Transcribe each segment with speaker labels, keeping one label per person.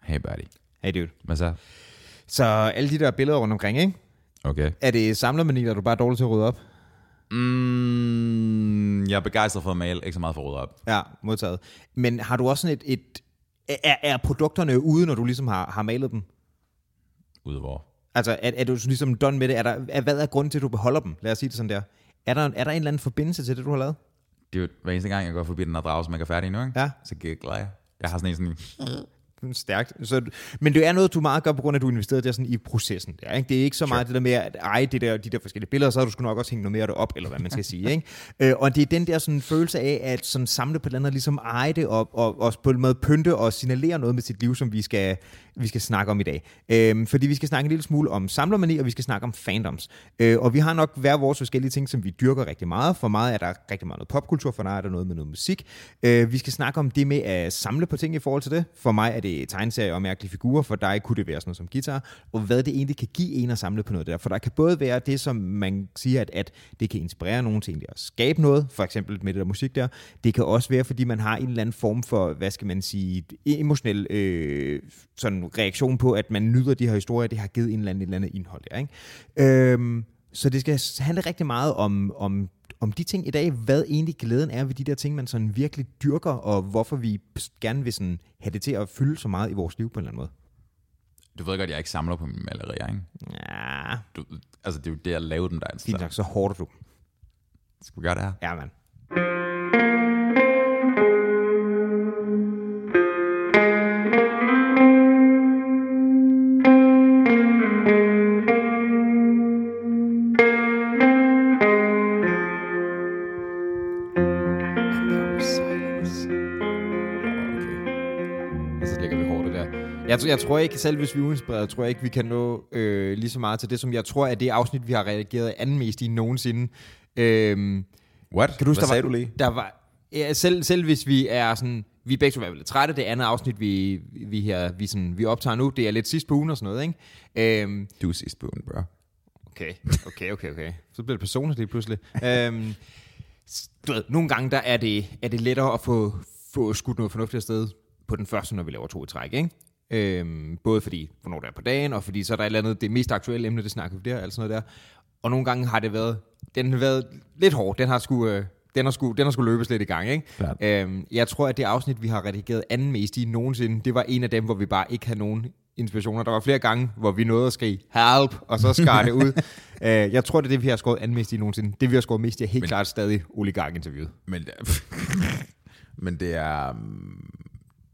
Speaker 1: Hey buddy.
Speaker 2: Hey dude.
Speaker 1: Hvad så?
Speaker 2: Så alle de der billeder rundt omkring, ikke?
Speaker 1: Okay.
Speaker 2: Er det samlermani, eller er du bare dårlig til at rydde op?
Speaker 1: Mm, jeg er begejstret for at male, ikke så meget for at rydde op.
Speaker 2: Ja, modtaget. Men har du også sådan et... et er, er produkterne ude, når du ligesom har, har malet dem?
Speaker 1: Ude hvor.
Speaker 2: Altså, er, er du sådan ligesom done med det? Er der, er, hvad er grunden til, at du beholder dem? Lad os sige det sådan der. Er der, er der en eller anden forbindelse til det, du har lavet?
Speaker 1: Det er jo hver eneste gang, jeg går forbi den her drage, som ikke er færdig endnu, ikke?
Speaker 2: Ja.
Speaker 1: Så giggler jeg. Jeg har sådan en sådan,
Speaker 2: Mm, Stærkt. Så, du- men det er noget, du meget gør, på grund af, at du investerede der sådan i processen. Der, ikke? Det er ikke så meget det der med at eje det der, de der forskellige billeder, så har du sgu nok også hængt noget mere af det op, eller hvad man skal sige. Ikke? Øh, og det er den der sådan, følelse af at sådan, samle på et eller andet, og ligesom eje det op, og, og på en måde pynte og signalere noget med sit liv, som vi skal, vi skal snakke om i dag. Øh, fordi vi skal snakke en lille smule om samlermani, og vi skal snakke om fandoms. Øh, og vi har nok hver vores forskellige ting, som vi dyrker rigtig meget. For meget er der rigtig meget noget popkultur, for dig er der noget med noget musik. Øh, vi skal snakke om det med at samle på ting i forhold til det. For mig er det tegneserier og mærkelige figurer, for dig kunne det være sådan noget som guitar, og hvad det egentlig kan give en at samle på noget der. For der kan både være det, som man siger, at, at det kan inspirere nogen til egentlig at skabe noget, for eksempel med det der musik der. Det kan også være, fordi man har en eller anden form for, hvad skal man sige, emotionel øh, sådan reaktion på, at man nyder de her historier, det har givet en eller anden, et eller andet indhold der. Ikke? Øhm, så det skal handle rigtig meget om, om, om de ting i dag, hvad egentlig glæden er ved de der ting, man sådan virkelig dyrker, og hvorfor vi gerne vil sådan have det til at fylde så meget i vores liv på en eller anden måde.
Speaker 1: du ved godt, jeg ikke samler på mine malerier, ikke?
Speaker 2: Ja,
Speaker 1: Du, altså, det er jo det, jeg lavede dem der.
Speaker 2: fint
Speaker 1: Så
Speaker 2: nok, så hårdt du.
Speaker 1: skal vi gøre det her?
Speaker 2: Ja, mand. Og så lægger vi hårdt der. Jeg, tror- jeg tror ikke, selv hvis vi er uinspireret, tror jeg ikke, vi kan nå øh, lige så meget til det, som jeg tror er det afsnit, vi har reageret anden mest i nogensinde. Øhm,
Speaker 1: What?
Speaker 2: kan du huske,
Speaker 1: Hvad
Speaker 2: der
Speaker 1: sagde
Speaker 2: var,
Speaker 1: du lige?
Speaker 2: Der var, ja, selv, selv hvis vi er sådan, vi er begge to i hvert fald lidt trætte, det andet afsnit, vi, vi, her, vi, sådan, vi optager nu, det er lidt sidst på ugen og sådan noget, ikke? Øhm,
Speaker 1: Du er sidst på ugen, bro.
Speaker 2: Okay, okay, okay, okay. Så bliver det personligt lige pludselig. øhm, s- du ved, nogle gange der er, det, er det lettere at få, få skudt noget fornuftigt afsted på den første, når vi laver to i træk, ikke? Øhm, både fordi, hvornår det er på dagen, og fordi så er der et eller andet, det mest aktuelle emne, det snakker vi der, alt sådan noget der. Og nogle gange har det været, den har været lidt hård, den har sgu, øh, den har sgu, den har sgu løbes lidt i gang, ikke?
Speaker 1: Klart.
Speaker 2: Øhm, jeg tror, at det afsnit, vi har redigeret anden mest i nogensinde, det var en af dem, hvor vi bare ikke havde nogen inspirationer. Der var flere gange, hvor vi nåede at skrige, help, og så skar det ud. øh, jeg tror, det er det, vi har skåret anden mest i nogensinde. Det, vi har skåret mest i, er helt Men... klart stadig oligark-interviewet.
Speaker 1: Men, det- men det er... mm,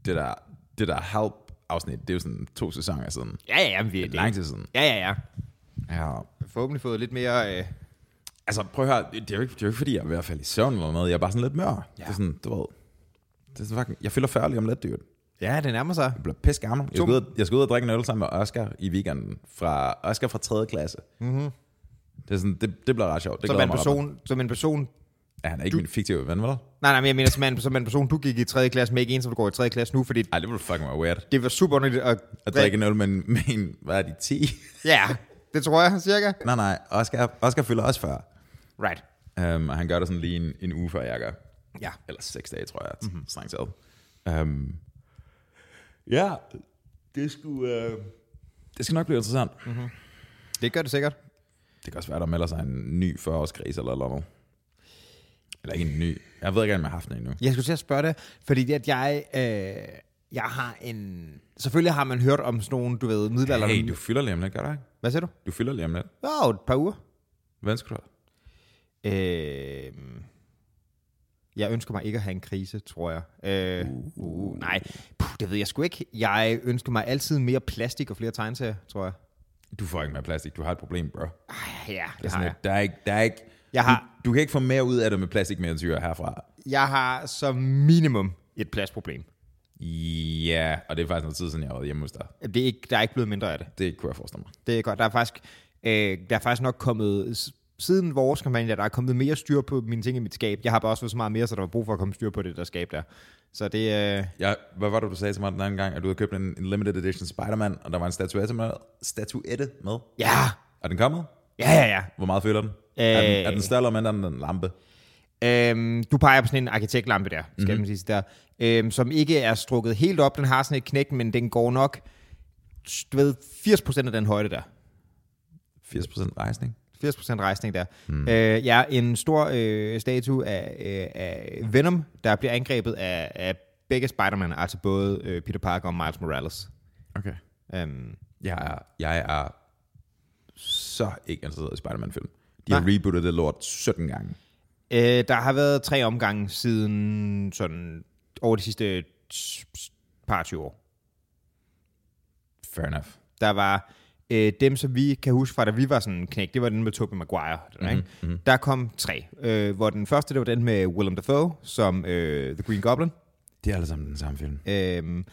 Speaker 1: Det der, det der help-afsnit, det er jo sådan to sæsoner siden.
Speaker 2: Ja, ja, ja, men vi er
Speaker 1: Det er lang tid siden.
Speaker 2: Ja, ja, ja.
Speaker 1: Ja.
Speaker 2: Forhåbentlig fået lidt mere... Øh...
Speaker 1: Altså, prøv at høre, det det er jo ikke, det er jo ikke fordi, jeg er ved at falde i søvn eller noget. Jeg er bare sådan lidt mør. Ja. Det er sådan, du ved... Det er sådan fucking, jeg fylder 40 lige om lidt, dude.
Speaker 2: Ja, det nærmer sig.
Speaker 1: Jeg bliver pisse gammel. Jeg skal, ud, og- jeg skal ud og drikke en øl sammen med Oscar i weekenden. Fra, Oscar fra 3. klasse. Mm-hmm. Det, er sådan, det, det bliver ret sjovt. Det
Speaker 2: Som
Speaker 1: glæder
Speaker 2: en,
Speaker 1: mig ret meget.
Speaker 2: person, som en person...
Speaker 1: Ja, han er ikke min fiktive ven, vel?
Speaker 2: Nej, nej, men jeg mener som en, som en person, du gik i 3. klasse med, ikke en, som går i 3. klasse nu, fordi
Speaker 1: Ej, det ville fucking være weird.
Speaker 2: det var super underligt at...
Speaker 1: At drikke en øl med en, med en hvad er de, 10?
Speaker 2: Ja, det tror jeg, cirka.
Speaker 1: nej, nej, Oscar, Oscar fylder også 40.
Speaker 2: Right.
Speaker 1: Um, og han gør det sådan lige en, en uge før jeg gør.
Speaker 2: Ja.
Speaker 1: Eller seks dage, tror jeg, mm-hmm. strengt taget. Um, ja, det skulle... Uh... Det skal nok blive interessant. Mm.
Speaker 2: Det gør det sikkert.
Speaker 1: Det kan også være, der melder sig en ny 40-årskrise eller noget. Eller ikke en ny. Jeg ved ikke, om jeg har haft den endnu.
Speaker 2: Jeg skulle til at spørge dig, fordi det, at jeg, øh, jeg har en... Selvfølgelig har man hørt om sådan nogle, du ved, middelalderen...
Speaker 1: Hey, du fylder lige om lidt, gør du ikke?
Speaker 2: Hvad siger du?
Speaker 1: Du fylder lige om lidt.
Speaker 2: Åh, oh, et par uger.
Speaker 1: Hvad skal du have?
Speaker 2: Øh, jeg ønsker mig ikke at have en krise, tror jeg. Øh, uh, nej, Puh, det ved jeg sgu ikke. Jeg ønsker mig altid mere plastik og flere tegneserier, tror jeg.
Speaker 1: Du får ikke mere plastik. Du har et problem, bro. Det
Speaker 2: Ej, Ah, ja,
Speaker 1: er
Speaker 2: det har
Speaker 1: sådan,
Speaker 2: jeg.
Speaker 1: lidt, der er ikke, der er ikke,
Speaker 2: Jeg har-
Speaker 1: du, du, kan ikke få mere ud af det med plastikmentyre herfra.
Speaker 2: Jeg har som minimum et plastproblem.
Speaker 1: Ja, og det er faktisk noget tid siden, jeg har været hjemme hos dig.
Speaker 2: Det er ikke, der er ikke blevet mindre af det.
Speaker 1: Det kunne jeg forestille mig.
Speaker 2: Det er godt. Der er faktisk, øh, der er faktisk nok kommet, s- siden vores kampagne, der er kommet mere styr på mine ting i mit skab. Jeg har bare også fået så meget mere, så der var brug for at komme styr på det der skab der. Så det, øh,
Speaker 1: Jeg, hvad var det, du sagde til mig den anden gang, at du havde købt en, en limited edition Spider-Man, og der var en statuette med? Statuette med?
Speaker 2: ja,
Speaker 1: Er den kommet?
Speaker 2: ja, ja, ja.
Speaker 1: Hvor meget føler den? Øh. Er, den,
Speaker 2: Øh.
Speaker 1: er den større eller mindre end en lampe?
Speaker 2: Øhm, du peger på sådan en arkitektlampe der, skal mm-hmm. man sige der, øhm, som ikke er strukket helt op. Den har sådan et knæk, men den går nok, du ved, 80% af den højde der.
Speaker 1: 80% rejsning.
Speaker 2: 80% rejsning der. Mm. Øh, ja, en stor øh, statue af, øh, af Venom, der bliver angrebet af, af begge Spider-Man, altså både øh, Peter Parker og Miles Morales.
Speaker 1: Okay.
Speaker 2: Øhm,
Speaker 1: Jeg er, jeg er så ikke interesseret i Spider-Man-film. De
Speaker 2: Nej.
Speaker 1: har rebootet det lort 17 gange.
Speaker 2: øh, der har været tre omgange siden sådan over de sidste s- s- par 20 år.
Speaker 1: Fair enough.
Speaker 2: Der var øh, dem, som vi kan huske fra, da vi var sådan en knæk, det var den med Tobey Maguire. Mm-hmm. Ikke? Der kom tre, øh, hvor den første, det var den med Willem Dafoe, som øh, The Green Goblin.
Speaker 1: Det er alle sammen den samme film.
Speaker 2: Øh,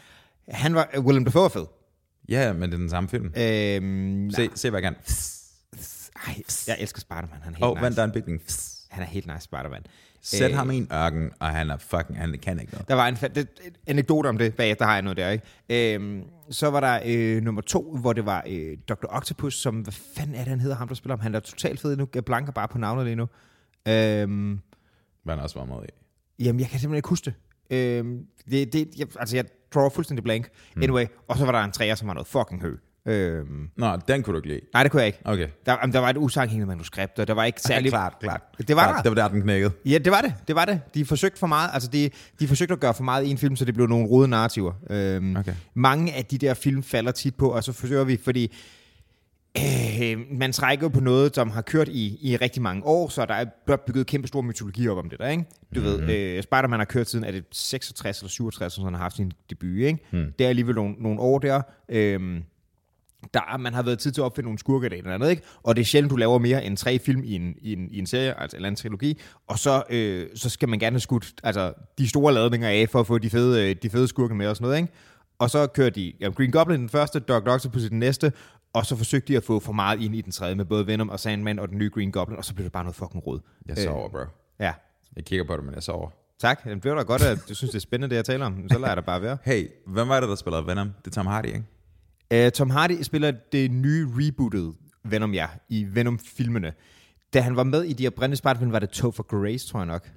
Speaker 2: han var, øh, Willem Dafoe er fed.
Speaker 1: Ja, men det er den samme film.
Speaker 2: Øh,
Speaker 1: Se, se hvad jeg kan.
Speaker 2: ej, jeg elsker Spider-Man, han er helt
Speaker 1: Åh,
Speaker 2: oh,
Speaker 1: oh,
Speaker 2: nice.
Speaker 1: vand, der er en bygning.
Speaker 2: Han er helt nice Spider-Man. Øh,
Speaker 1: Sæt ham i en ørken, og han er fucking, han kan ikke noget.
Speaker 2: Der var en fa- det, en anekdote om det, bagefter har jeg noget der, ikke? Øhm, så var der øh, nummer to, hvor det var øh, Dr. Octopus, som, hvad fanden er det, han hedder, ham der spiller om? Han er totalt fed nu, jeg blanker bare på navnet lige nu. Øhm,
Speaker 1: Hvad han også var med i.
Speaker 2: Jamen, jeg kan simpelthen ikke huske det. Øhm, det, det jeg, altså, jeg draw fuldstændig blank.
Speaker 1: Hmm.
Speaker 2: Anyway, og så var der en træer, som var noget fucking hø. Øhm,
Speaker 1: Nå, den kunne du ikke lide.
Speaker 2: nej, det kunne jeg ikke.
Speaker 1: Okay.
Speaker 2: Der, jamen, der var et usammenhængende manuskript, og der var ikke særlig...
Speaker 1: klart, klart.
Speaker 2: Det var der.
Speaker 1: klart, Det var der, den knækkede.
Speaker 2: Ja, det var det. Det var det. De forsøgte for meget. Altså, de, de forsøgte at gøre for meget i en film, så det blev nogle rode narrativer. Øhm,
Speaker 1: Okay.
Speaker 2: Mange af de der film falder tit på, og så forsøger vi, fordi øh, man trækker jo på noget, som har kørt i, i rigtig mange år, så der er blevet bygget kæmpe stor mytologi op om det der, ikke? Du mm-hmm.
Speaker 1: Mhm.
Speaker 2: ved, øh, Spider-Man har kørt siden, er det 66 eller 67, som han har haft sin debut, ikke?
Speaker 1: Mhm.
Speaker 2: Mm. Det er alligevel nogle, nogle år der. Øh, der er- man har været tid til at opfinde nogle skurke eller et eller andet, ikke? Og det er sjældent, du laver mere end tre film i en, i en, i en serie, altså eller en trilogi, og så, øh, så skal man gerne have skudt altså, de store ladninger af for at få de fede, øh, de fede skurke med og sådan noget, ikke? Og så kører de ja, Green Goblin den første, Doc Octopus i den næste, og så forsøgte de at få for meget ind i den tredje med både Venom og Sandman og den nye Green Goblin, og så blev det bare noget fucking råd.
Speaker 1: Jeg
Speaker 2: Øh.
Speaker 1: sover, bro.
Speaker 2: Ja,
Speaker 1: Jeg kigger på det, men jeg sover.
Speaker 2: tak. Den blev da godt, at du synes, det er spændende, det jeg taler om. Så lader jeg dig bare være.
Speaker 1: Hey, hvem var det, der spillede Venom? Det er Tom Hardy, ikke?
Speaker 2: Uh, Tom Hardy spiller det nye rebootede Venom, ja, i Venom-filmene. Da han var med i de oprindelige Spider-Man, var det Topher Grace, tror jeg nok.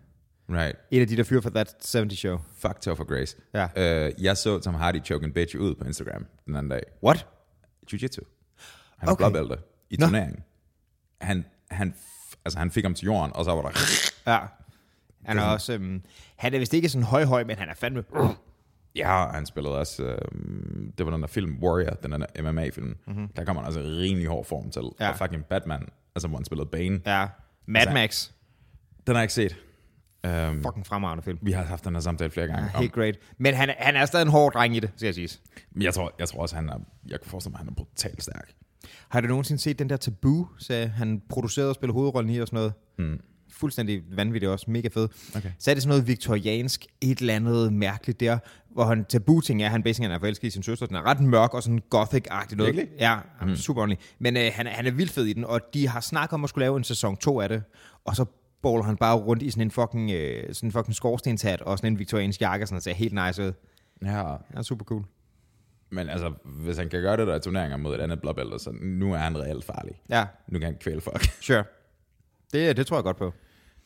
Speaker 1: Right.
Speaker 2: En af de der fyre fra That 70 Show.
Speaker 1: Fuck Topher Grace.
Speaker 2: Ja.
Speaker 1: Øh, jeg så Tom Hardy choke en bitch ud på Instagram den anden dag.
Speaker 2: What?
Speaker 1: Jiu-jitsu. Han er
Speaker 2: Okay.
Speaker 1: blåbælte i
Speaker 2: Nå.
Speaker 1: turneringen. Han, han, f- altså, han fik ham til jorden, og så var der...
Speaker 2: Ja. Han er også... Um, han er vist ikke sådan høj-høj, men han er fandme...
Speaker 1: Ja, og han spillede også... Øh, det var den der film Warrior, den der MMA-film. Mm-hmm. Der kom han altså i rimelig hård form til.
Speaker 2: Mhm. Ja.
Speaker 1: Ja. Og fucking Batman, altså hvor han spillede Bane.
Speaker 2: Ja. Mad
Speaker 1: Altså,
Speaker 2: Max.
Speaker 1: Den har jeg ikke set. Um,
Speaker 2: Fucking fremragende film.
Speaker 1: vi har haft den her samtale flere gange. om,
Speaker 2: Helt great. Men han, er- han er stadig en hård dreng i det, skal jeg sige.
Speaker 1: Men jeg tror, jeg tror også, han er... Jeg kunne forestille mig, at han er brutalt stærk.
Speaker 2: Har du nogensinde set den der Taboo, så han producerede og spillede hovedrollen i og sådan noget? Mm. Fuldstændig vanvittig også, mega fed.
Speaker 1: Okay.
Speaker 2: Så er det sådan noget viktoriansk, et eller andet mærkeligt der, hvor han Taboo-ting er, han basically er forelsket i sin søster, den er ret mørk og sådan gothic-agtig noget.
Speaker 1: Virkelig?
Speaker 2: Ja, mm. super ordentlig. Men øh, han, er- han er vildt fed i den, og de har snakket om at skulle lave en sæson 2 af det, og så bowler han bare rundt i sådan en fucking, øh, sådan en fucking skorstenshat og sådan en viktoriansk jakke, og sådan noget, ser helt nice ud.
Speaker 1: Ja,
Speaker 2: Han er super cool.
Speaker 1: men altså, hvis han kan gøre det der i turneringer mod et andet blåbælte, så nu er han reelt farlig.
Speaker 2: Ja,
Speaker 1: Nu kan han kvæle folk.
Speaker 2: sure. Det, det tror jeg godt på.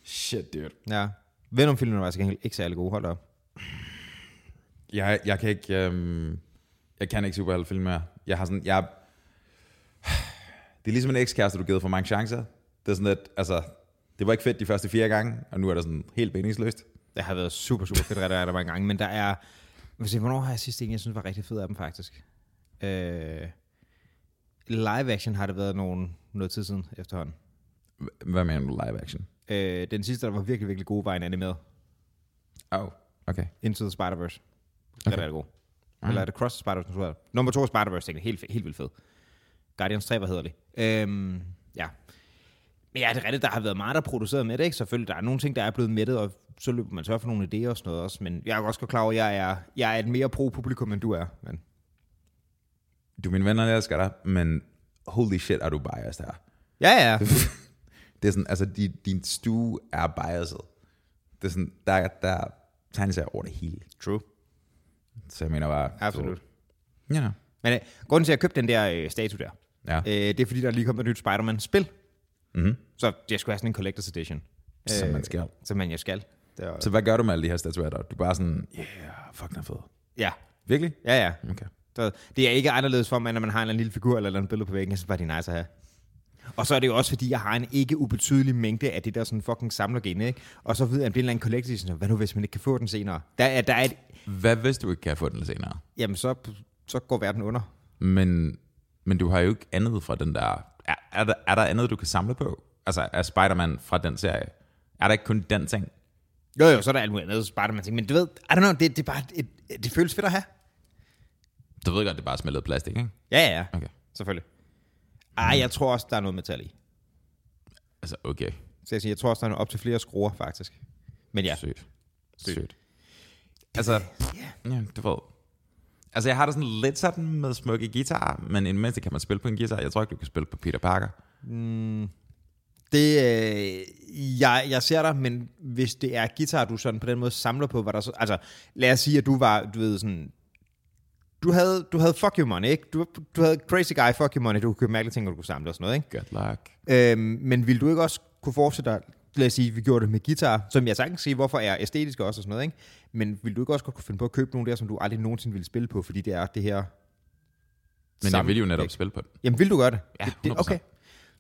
Speaker 1: Shit, dude.
Speaker 2: Ja. Venom-filmene var altså gengæld ikke særlig gode, hold da op.
Speaker 1: Jeg, jeg kan ikke... Øhm, jeg kan ikke superheltefilm mere. Jeg har sådan... Jeg, det er ligesom en ekskæreste, du har givet for mange chancer. Det er sådan lidt... Altså, det var ikke fedt de første fire gange, og nu er det sådan helt meningsløst.
Speaker 2: Det har været super, super fedt, at der er der mange gange, men der er... Hvis jeg, hvornår har jeg sidst en, jeg synes var rigtig fed af dem, faktisk? Øh, live action har det været nogen, noget tid siden efterhånden.
Speaker 1: H- Hvad mener du live action?
Speaker 2: Øh, den sidste, der var virkelig, virkelig god, var en animeret.
Speaker 1: Åh, oh, okay.
Speaker 2: Into the Spider-Verse. Okay. Den er rigtig god. Eller er det Cross the Spider-Verse, tror jeg. Nummer to er Spider-Verse, tænker jeg. helt, fe- helt vildt fed. Guardians 3, hvad hedder det? Øhm, ja. Men ja, det er rigtigt, der har været meget, der er produceret med det, ikke? Selvfølgelig, der er nogle ting, der er blevet mættet, og så løber man tør for nogle idéer og sådan noget også. Men jeg er også godt klar over, at jeg er, jeg er et mere pro-publikum, end du er. Men
Speaker 1: Du er min venner, jeg elsker dig, men holy shit, er du biased her.
Speaker 2: ja, ja, ja.
Speaker 1: Det er sådan, altså, din, din stue er biased. Det er sådan, der, der er tegneserier over det hele.
Speaker 2: True.
Speaker 1: Så jeg mener bare...
Speaker 2: Absolut.
Speaker 1: Ja. Yeah.
Speaker 2: Men øh, grunden til, at jeg købte den der øh, statue der,
Speaker 1: Ja.
Speaker 2: øh, det er fordi, der er lige kommet et nyt Spider-Man-spil.
Speaker 1: Mm-hmm.
Speaker 2: Så det skulle have sådan en Collector's Edition. Øh,
Speaker 1: Som man skal.
Speaker 2: Som man jo skal. Det var,
Speaker 1: Så hvad gør du med alle de her statuetter? Du er bare sådan, yeah, fuck, den er fed.
Speaker 2: ja,
Speaker 1: Virkelig?
Speaker 2: ja, ja.
Speaker 1: Okay.
Speaker 2: Så det er ikke anderledes for mig, end når man har en eller anden lille figur eller en billede på væggen, så var det er nice at have. Og så er det jo også, fordi jeg har en ikke ubetydelig mængde af det der sådan fucking samlergen, ikke? Og så ved jeg, at det er en eller anden collector, sådan, hvad nu hvis man ikke kan få den senere? Der er, der er et,
Speaker 1: Hvad hvis du ikke kan få den lidt senere?
Speaker 2: jamen så, så går verden under.
Speaker 1: Men, men du har jo ikke andet fra den der... Er, er, der, er der andet, du kan samle på? Altså, er Spider-Man fra den serie? Er der ikke kun den ting?
Speaker 2: Jo jo, så er der alt muligt andet, så man ting. Men du ved, I don't know, det, det er bare, et, det føles fedt at have.
Speaker 1: Du ved godt, det er bare smeltet plastik, ikke?
Speaker 2: Ja, ja, ja.
Speaker 1: Okay.
Speaker 2: Selvfølgelig. Ej, jeg tror også, der er noget metal i.
Speaker 1: Altså, okay.
Speaker 2: Så jeg, siger, jeg tror også, der er op til flere skruer, faktisk. Men ja.
Speaker 1: Sødt. Sødt. Altså, ja, du ved. Altså, jeg har det sådan lidt sådan med smukke guitar, men i det mindste kan man spille på en guitar. Jeg tror ikke, du kan spille på Peter Parker.
Speaker 2: Det, øh, jeg, jeg ser dig, men hvis det er guitar, du sådan på den måde samler på, var der så, altså, lad os sige, at du var, du ved sådan, du havde, du havde fuck you money, ikke? Du, du havde crazy guy fuck you money, du kunne købe mærkelige ting, og du kunne samle og sådan noget,
Speaker 1: Good luck.
Speaker 2: ikke? Øhm, men ville du ikke også kunne fortsætte dig, lad os sige, vi gjorde det med guitar, som jeg sagtens kan sige, hvorfor er æstetisk også og sådan noget, ikke? Men ville du ikke også godt kunne finde på at købe nogle der, som du aldrig nogensinde ville spille på, fordi det er det her...
Speaker 1: Men jeg
Speaker 2: Samme-
Speaker 1: vil jo netop spille på den.
Speaker 2: Jamen, vil du gøre det?
Speaker 1: Ja,
Speaker 2: det, det
Speaker 1: 100%.
Speaker 2: okay.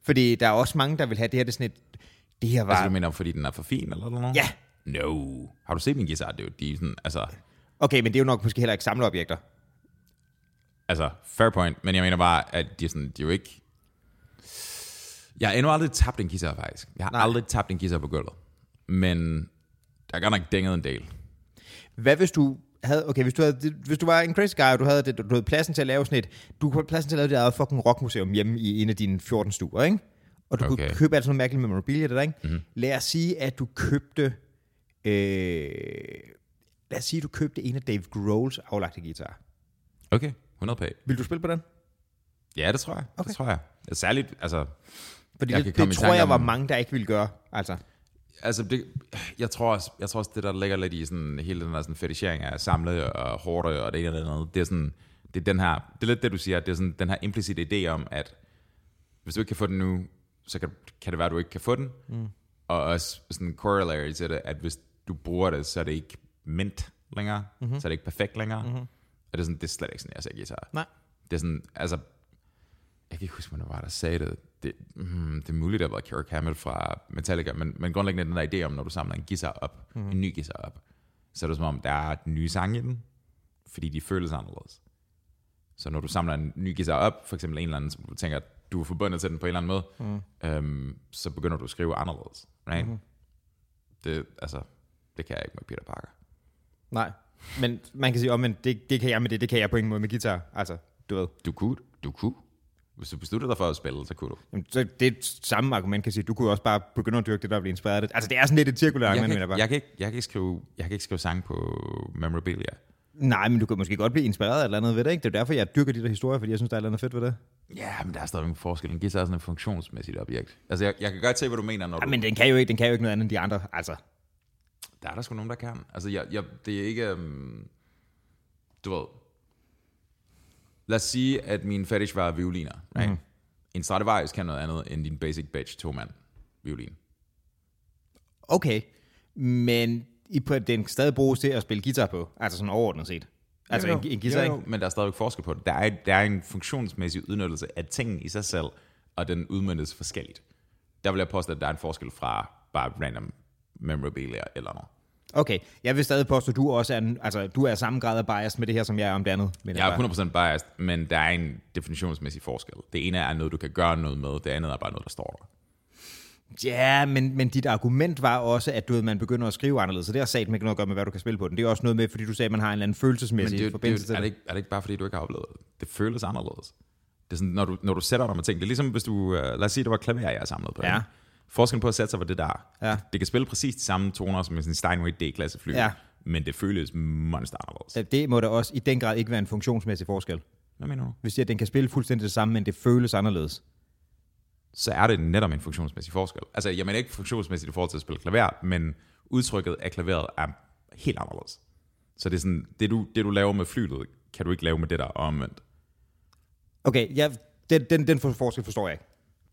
Speaker 2: Fordi der er også mange, der vil have det her, det er sådan et... Det her var...
Speaker 1: Altså, du mener, fordi den er for fin, eller noget?
Speaker 2: Ja.
Speaker 1: No. Har du set min guitar? Det er jo de er sådan, altså,
Speaker 2: Okay, men det er jo nok måske heller ikke samleobjekter.
Speaker 1: altså, fair point, men jeg mener bare, at de er sådan, de er jo ikke... Jeg har endnu aldrig tabt en guitar, faktisk. Jeg har Nej. aldrig tabt en guitar på gulvet. Men der er godt nok dænget en del.
Speaker 2: Hvad hvis du havde, okay, hvis du, havde, hvis du var en crazy guy, og du havde, det, du havde pladsen til at lave sådan et, du kunne have pladsen til at lave dit eget fucking rockmuseum hjemme i en af dine 14 stuer, ikke? Og du okay.
Speaker 1: Okay. Mhm.
Speaker 2: kunne købe alt sådan noget mærkeligt memorabilia, det der, ikke? Mm-hmm. Lad os sige, at du købte, øh, lad os sige, at du købte en af Dave Grohls aflagte guitar.
Speaker 1: Okay, 100 p.
Speaker 2: Vil du spille på den?
Speaker 1: Ja, det tror jeg. Okay.
Speaker 2: Okay.
Speaker 1: Det tror jeg. Særligt, altså,
Speaker 2: Fordi
Speaker 1: Jeg
Speaker 2: jeg
Speaker 1: kan
Speaker 2: det,
Speaker 1: komme
Speaker 2: det
Speaker 1: i
Speaker 2: tror
Speaker 1: tanke
Speaker 2: jeg
Speaker 1: om-
Speaker 2: var mange, der ikke ville gøre. Altså,
Speaker 1: altså det, jeg, tror også, jeg tror også, det der ligger lidt i sådan, hele den der sådan fetishering af samle og hårde og det ene og det andet, det er sådan, det er den her, det er lidt det, du siger, det er sådan den her implicite idé om, at hvis du ikke kan få den nu, så kan, kan det være, at du ikke kan få den. Mm. Og også sådan corollary til det, at hvis du bruger det, så er det ikke mint længere, mm-hmm. så er det ikke perfekt længere. Mm-hmm. Og det er, sådan, det er slet ikke sådan, jeg ser guitar.
Speaker 2: Nej.
Speaker 1: Det er sådan, altså, jeg kan ikke huske, hvornår det var, der sagde det. Det, mm, det er muligt, at det var Kirk Hammett fra Metallica, men, men grundlæggende den der idé om, når du samler en guitar op,
Speaker 2: Mhm.
Speaker 1: mm. en ny guitar op, så er det som om, der er nye sange i den, fordi de føles anderledes. Så når du samler en ny guitar op, for eksempel en eller anden, som du tænker, at du er forbundet til den på en eller anden måde,
Speaker 2: Mhm.
Speaker 1: mm. øhm, så begynder du at skrive anderledes. Right? Mm. Det, altså, det kan jeg ikke med Peter Parker.
Speaker 2: nej. Men man kan sige, oh, men det, det kan jeg med det, det kan jeg på ingen måde med guitar. Altså, du ved.
Speaker 1: Du kunne, du kunne. Hvis du besluttede dig for at spille, så kunne du.
Speaker 2: Jamen, så det samme argument kan sige, du kunne jo også bare begynde at dyrke det, der bliver inspireret af det. Altså, det er sådan lidt et cirkulært
Speaker 1: Jeg kan,
Speaker 2: argument, mener jeg
Speaker 1: ikke,
Speaker 2: bare.
Speaker 1: jeg, kan ikke, jeg, kan ikke skrive, jeg kan ikke skrive sang på memorabilia.
Speaker 2: Nej, men du kan måske godt blive inspireret af et eller andet ved det, ikke? Det er jo derfor, jeg dyrker de der historier, fordi jeg synes, der er et eller andet fedt ved det.
Speaker 1: Ja, men der er stadigvæk en forskel. En guitar er sådan et funktionsmæssigt objekt. Altså, jeg, jeg kan godt se, hvad du mener, når
Speaker 2: Ja,
Speaker 1: du...
Speaker 2: men den kan jo ikke, den kan jo ikke noget andet end de andre, altså.
Speaker 1: Der er der sgu nogen, der kan. Altså, jeg, jeg, det er ikke... Um, du ved... Lad os sige, at min fetish var violiner. Right?
Speaker 2: Mhm.
Speaker 1: Mm. En Stradivarius kan noget andet end din basic bitch to-mand violin.
Speaker 2: Okay, men I på, den stadig bruges til at spille guitar på, altså sådan overordnet set. Altså en, en guitar, ikke?
Speaker 1: Men der er stadigvæk forskel på det. Der er, der er en funktionsmæssig udnyttelse af tingen i sig selv, og den udmyndes forskelligt. Der vil jeg påstå, at der er en forskel fra bare random memorabilia eller noget.
Speaker 2: Okay, jeg vil stadig påstå, at du også er, en, altså, du er samme grad af bias med det her, som jeg er om det andet. Men
Speaker 1: Jeg er 100% biased, men der er en definitionsmæssig forskel. Det ene er noget, du kan gøre noget med, det andet er bare noget, der står der.
Speaker 2: Ja, men, men dit argument var også, at du ved, man begynder at skrive anderledes, så det har sagt ikke noget at gøre med, hvad du kan spille på den. Det er også noget med, fordi du sagde, at man har en eller anden
Speaker 1: Men
Speaker 2: følelsesmæssig
Speaker 1: det, er jo- det,
Speaker 2: forbindelse
Speaker 1: det,
Speaker 2: til
Speaker 1: er,
Speaker 2: det.
Speaker 1: det ikke, er det ikke bare, fordi du ikke har oplevet det? Det føles anderledes. Det er sådan, når du, når du sætter dig med ting, det er ligesom hvis du, øh, lad os sige, det var klaver, jeg samlede på.
Speaker 2: Ja.
Speaker 1: ikke? Forskellen på at sætte sig var det der.
Speaker 2: Ja.
Speaker 1: Det kan spille præcis de samme toner som en sådan Steinway D-klasse fly,
Speaker 2: Ja.
Speaker 1: men det føles monster anderledes.
Speaker 2: Det, det må da også i den grad ikke være en funktionsmæssig forskel.
Speaker 1: Hvad mener du?
Speaker 2: Hvis siger, at den kan spille fuldstændig det samme, men det føles anderledes.
Speaker 1: Så er det netop en funktionsmæssig forskel. Altså, jeg mener ikke funktionsmæssigt i forhold til at spille klaver, men udtrykket af klaveret er helt anderledes. Så det er sådan, det du, det du laver med flyet, kan du ikke lave med det der og omvendt.
Speaker 2: Okay, ja, den, den, den for- forskel forstår jeg ikke.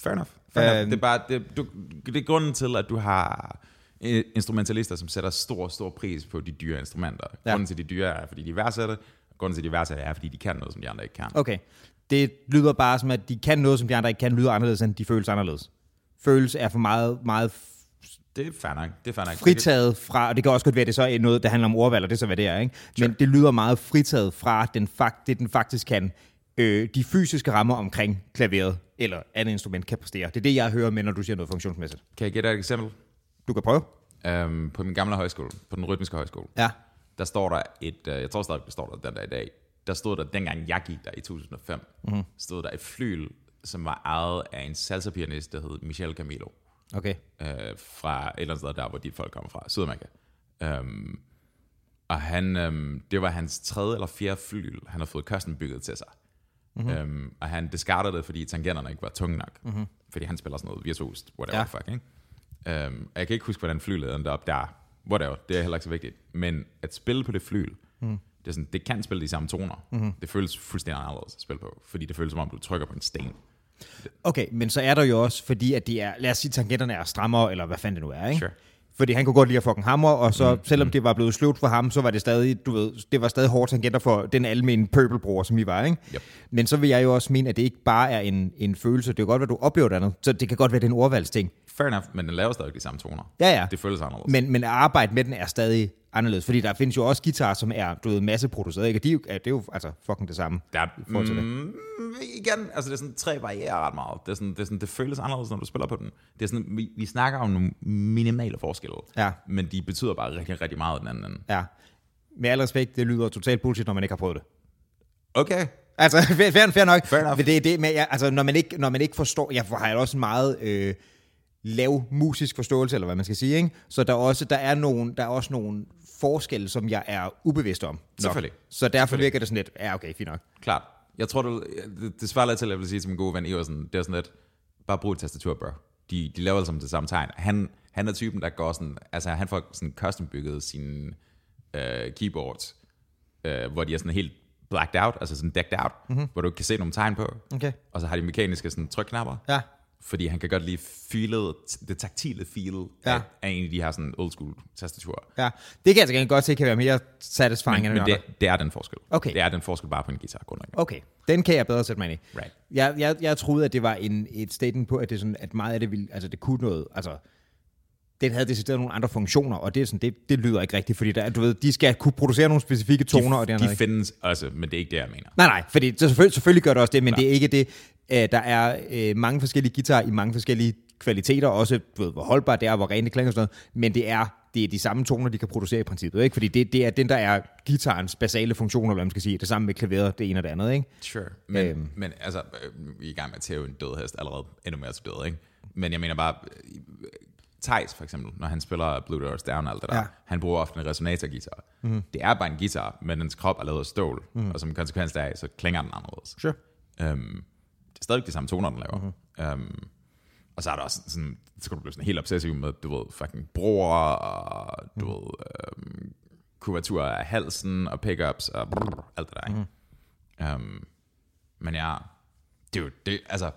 Speaker 1: Fair enough. Fair enough.
Speaker 2: Øhm.
Speaker 1: Det er bare, det, du, det er grunden til, at du har øh, instrumentalister, som sætter stor, stor pris på de dyre instrumenter. Ja. Grunden til, de dyre er, fordi de værdsætter. og Grunden til, de værdsætter er, fordi de kan noget, som de andre ikke kan.
Speaker 2: Okay. Det lyder bare som, at de kan noget, som de andre ikke kan, lyder anderledes, end de føles anderledes. Føles er for meget, meget
Speaker 1: Det er fair nok. Det er fair nok.
Speaker 2: fritaget fra, og det kan også godt være, at det så er noget, der handler om ordvalg, og det er så, hvad det er, ikke? Men det lyder meget fritaget fra den fakt, det, den faktisk kan. Øh, de fysiske rammer omkring klaveret eller andet instrument kan præstere. Det er det, jeg hører med, når du siger noget funktionsmæssigt.
Speaker 1: Kan jeg give dig et eksempel?
Speaker 2: Du kan prøve.
Speaker 1: Øhm, på min gamle højskole, på den rytmiske højskole,
Speaker 2: Ja.
Speaker 1: der står der et, øh, jeg tror stadig, det står der den dag i dag, der stod der, dengang jeg gik der i 2005, mm-hmm. stod der et flyl, som var ejet af en salsa-pianist, der hed Michel Camilo,
Speaker 2: Okay.
Speaker 1: øh, fra et eller andet sted der, hvor de folk kommer fra, Sydamerika. Øhm, og han, øhm, det var hans tredje eller fjerde flyl, han har fået kosten bygget til sig.
Speaker 2: Mhm.
Speaker 1: Mm-hmm. Øhm, og han discardede det, fordi tangenterne ikke var tunge nok. Mm-hmm. Fordi han spiller sådan noget virtuost, whatever
Speaker 2: Ja.
Speaker 1: ja. fuck, ikke? Øhm, og jeg kan ikke huske, hvordan flylet endte op der. Whatever, det er heller ikke så vigtigt. Men at spille på det flyl,
Speaker 2: Mhm.
Speaker 1: mm. det, er sådan, det kan spille de samme toner. Mm-hmm. Det føles fuldstændig anderledes at spille på, fordi det føles som om, du trykker på en sten.
Speaker 2: Okay, men så er der jo også, fordi at de er, lad os sige, tangenterne er strammere, eller hvad fanden det nu er, ikke?
Speaker 1: Sure.
Speaker 2: Fordi han kunne godt lide at fucking hammer, og så mm. selvom det var blevet sløvt for ham, så var det stadig, du ved, det var stadig hårde tangenter for den almindelige pøbelbruger, som vi var, ikke?
Speaker 1: Yep.
Speaker 2: Men så vil jeg jo også mene, at det ikke bare er en, en følelse, det kan godt være, du oplever det andet, så det kan godt være, det er en ordvalgsting.
Speaker 1: Fair enough, men den laver stadig de samme toner.
Speaker 2: Ja, ja.
Speaker 1: Det føles anderledes.
Speaker 2: Men, men at arbejde med den er stadig anderledes, fordi der findes jo også guitarer, som er, du ved, masseproduceret, ikke? Og de, er jo- ja, det er jo altså fucking det samme.
Speaker 1: Der er,
Speaker 2: forhold til det.
Speaker 1: mm, igen, altså det er sådan, tre varierer ret meget. Det, er sådan, det, er sådan, det føles anderledes, når du spiller på den. Det er sådan, vi, vi snakker om nogle minimale forskelle,
Speaker 2: Ja.
Speaker 1: men de betyder bare rigtig, rigtig meget den anden. ende.
Speaker 2: Ja. Med al respekt, det lyder totalt bullshit, når man ikke har prøvet det.
Speaker 1: Okay,
Speaker 2: Altså, fair, fair, fair nok.
Speaker 1: Fair enough.
Speaker 2: Men det er det med, jeg, altså, når man ikke, når man ikke forstår, jeg har jo også en meget øh, lav musisk forståelse, eller hvad man skal sige, ikke? Så der er også, der er nogle, der er også nogle forskelle, som jeg er ubevidst om. nok.
Speaker 1: Selvfølgelig.
Speaker 2: Så derfor virker det sådan lidt, ja, okay, fint nok.
Speaker 1: klart. Jeg tror, du, det, det svarer lidt til, at jeg vil sige til min gode ven Iversen, det er sådan lidt, bare brug et tastatur, bro. De, de laver alle sammen det samme tegn. Han, han er typen, der går sådan, altså han får sådan custom bygget sine øh, keyboards, øh, hvor de er sådan helt blacked out, altså sådan decked out, mm-hmm. hvor du ikke kan se nogen tegn på.
Speaker 2: Mhm. Okay.
Speaker 1: Og så har de mekaniske sådan, trykknapper.
Speaker 2: Ja.
Speaker 1: Fordi han kan godt lide feelet, det taktile feel
Speaker 2: Ja.
Speaker 1: ja. af, af en af de her sådan old school tastaturer.
Speaker 2: Ja, det kan jeg altså gerne godt se, kan være mere satisfying
Speaker 1: Men,
Speaker 2: end
Speaker 1: men
Speaker 2: det.
Speaker 1: det, det er den forskel.
Speaker 2: Okay.
Speaker 1: Det er den forskel bare på en guitar, grundlæggende.
Speaker 2: Okay, den kan jeg bedre sætte mig ind i.
Speaker 1: Right.
Speaker 2: Jeg, jeg, jeg troede, at det var en, et statement på, at, det sådan, at meget af det, ville, altså det kunne noget. Altså, den havde decideret nogle andre funktioner, og det, er sådan, det, det lyder ikke rigtigt, fordi der, du ved, de skal kunne producere nogle specifikke toner. og det andet,
Speaker 1: de
Speaker 2: ikke?
Speaker 1: findes også, men det er ikke det, jeg mener.
Speaker 2: Nej, nej, fordi så selvfølgelig, selvfølgelig gør det også det, men ja. det er ikke det. Øh, der er øh, mange forskellige guitarer i mange forskellige kvaliteter, også du ved, hvor holdbart det er, hvor rent det klinger og sådan noget, men det er, det er de samme toner, de kan producere i princippet, ikke? Fordi det, det er den, der er guitarens basale funktioner, eller hvad man skal sige, det samme med klaveret, det ene og det andet, ikke?
Speaker 1: Sure. Men, øhm. men altså, øh, vi er i gang med at tæve en død hest allerede endnu mere til død, ikke? Men jeg mener bare, Thijs for eksempel, når han spiller Blue Doors Down og alt det der,
Speaker 2: Ja. Mhm.
Speaker 1: ja. han bruger ofte en resonatorguitar. Mm. Det er bare en guitar, men dens krop er lavet af stål, mm. og som konsekvens deraf, så klinger den anderledes.
Speaker 2: Sure.
Speaker 1: Øhm, det er stadigvæk de samme toner, den laver. Mm-hmm. Øhm, og så er der også sådan, så kan du blive sådan helt obsessiv med, du ved, fucking broer, og du mm. ved, øhm, kurvaturer af halsen, og pickups, og brrr, alt det der, ikke? Mm. Øhm, men jeg, det er jo, det, altså,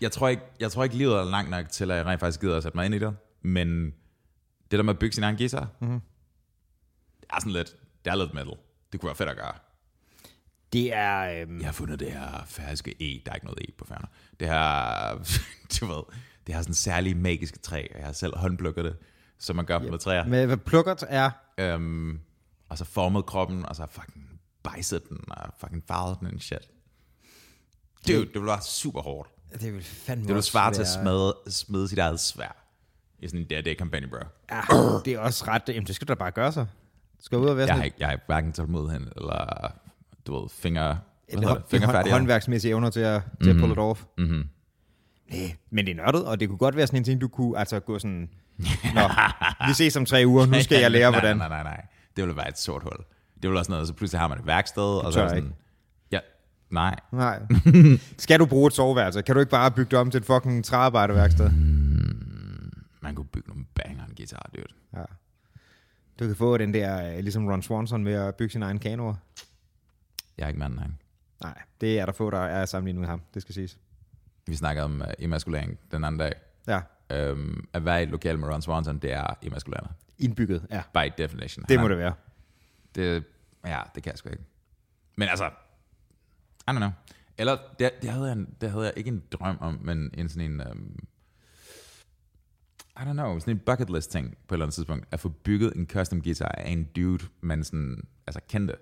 Speaker 1: jeg tror, ikke, jeg tror ikke, livet er langt nok til, at jeg rent faktisk gider at sætte mig ind i det, men det der med at bygge sin egen guitar, mm-hmm. det er sådan lidt, det er lidt metal. Det kunne være fedt at gøre.
Speaker 2: Det er... Øhm,
Speaker 1: Jeg har fundet det her færske E. Der er ikke noget E på færner. Det her, du ved, det her sådan særlige magiske træ, og jeg har selv håndplukket det, som man gør yep. med træer.
Speaker 2: med, hvad plukkert er...
Speaker 1: Øhm, og så formet kroppen, og så fucking bejset den, og fucking farvet den og shit. Dude, det ville være super hårdt.
Speaker 2: Det vil fandme
Speaker 1: Det ville
Speaker 2: også
Speaker 1: svare til at
Speaker 2: være-
Speaker 1: smede, smide sit eget svær. I sådan en day kampagne, bro.
Speaker 2: Ja, det er også ret... Jamen, det skal du da bare gøre så. Du skal ud og være
Speaker 1: Jeg
Speaker 2: sådan
Speaker 1: har, ikke, jeg har hverken tålmodighed eller, du ved, finger... Hvad
Speaker 2: en
Speaker 1: hedder det?
Speaker 2: hånd, en hånd,
Speaker 1: Fingerfærdighed.
Speaker 2: håndværksmæssige evner til at, til at pull
Speaker 1: Mhm.
Speaker 2: it off. Mm-hmm. Næh, men det er nørdet, og det kunne godt være sådan en ting, du kunne altså gå sådan, Nå, vi ses om tre uger, nu skal jeg lære,
Speaker 1: nej,
Speaker 2: hvordan.
Speaker 1: Nej, nej, nej. Det ville være et sort hul. Det ville også noget, så pludselig har man et værksted, og så
Speaker 2: tør
Speaker 1: er det sådan... Ja, nej.
Speaker 2: Nej. Skal du bruge et soveværelse? Kan du ikke bare bygge det om til et fucking træarbejderværksted?
Speaker 1: Man kunne bygge nogle banger en guitar, dude.
Speaker 2: Ja. Du kan få den der, øh, ligesom Ron Swanson med at bygge sin egen kanoer.
Speaker 1: Jeg er ikke manden, han.
Speaker 2: Nej, det er der få, der er sammenlignet med ham, det skal siges.
Speaker 1: Vi snakkede om uh, emaskulering øh, den anden dag.
Speaker 2: Ja,
Speaker 1: øhm, at være i et lokal med Ron Swanson, det er emaskulerende.
Speaker 2: Indbygget, ja.
Speaker 1: By definition.
Speaker 2: Det
Speaker 1: Han
Speaker 2: må
Speaker 1: er-
Speaker 2: det være.
Speaker 1: Det, ja, det kan jeg sgu ikke. Men altså, I don't know. Eller, det, det, havde jeg, en- det havde jeg ikke en drøm om, men en sådan en, um, I don't know, sådan en bucket list ting på et eller andet tidspunkt, at få bygget en custom guitar af en dude, man sådan, altså kendte.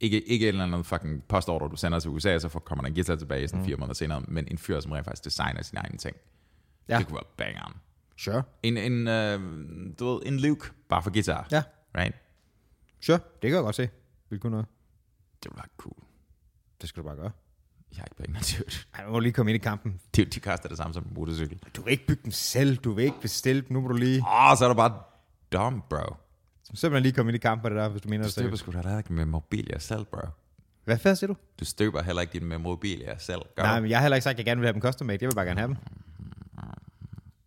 Speaker 1: Ikke, ikke et eller andet fucking postorder, du sender til USA, og så får- kommer der en guitar tilbage sådan mm. fire måneder senere, men en fyr, som rent faktisk designer sine egne ting.
Speaker 2: Ja.
Speaker 1: Ja. Det kunne være bangeren.
Speaker 2: Sure.
Speaker 1: En, en, øh, du ved, en Luke, bare for guitar.
Speaker 2: Ja.
Speaker 1: Right?
Speaker 2: Sure, det kan jeg godt se. Vil kunne noget.
Speaker 1: Det var cool.
Speaker 2: Det skal du bare gøre.
Speaker 1: Jeg har ikke penge, dude.
Speaker 2: Ej, nu må du lige komme ind i kampen.
Speaker 1: De, de koster det samme som en motorcykel.
Speaker 2: Du vil ikke bygge dem selv, du vil ikke bestille dem. Nu må du lige...
Speaker 1: Åh, oh, så er du bare dum, bro.
Speaker 2: Simpelthen lige komme ind i kampen på det der, hvis du mener
Speaker 1: Du
Speaker 2: det.
Speaker 1: støber
Speaker 2: seriøst.
Speaker 1: sgu da heller ikke med mobilia selv, bro.
Speaker 2: Hvad fanden siger du?
Speaker 1: Du støber heller ikke din med mobilia selv, gør
Speaker 2: Nej,
Speaker 1: Nej.
Speaker 2: men jeg har heller ikke sagt, at jeg gerne vil have dem custom made. Jeg vil bare gerne have dem.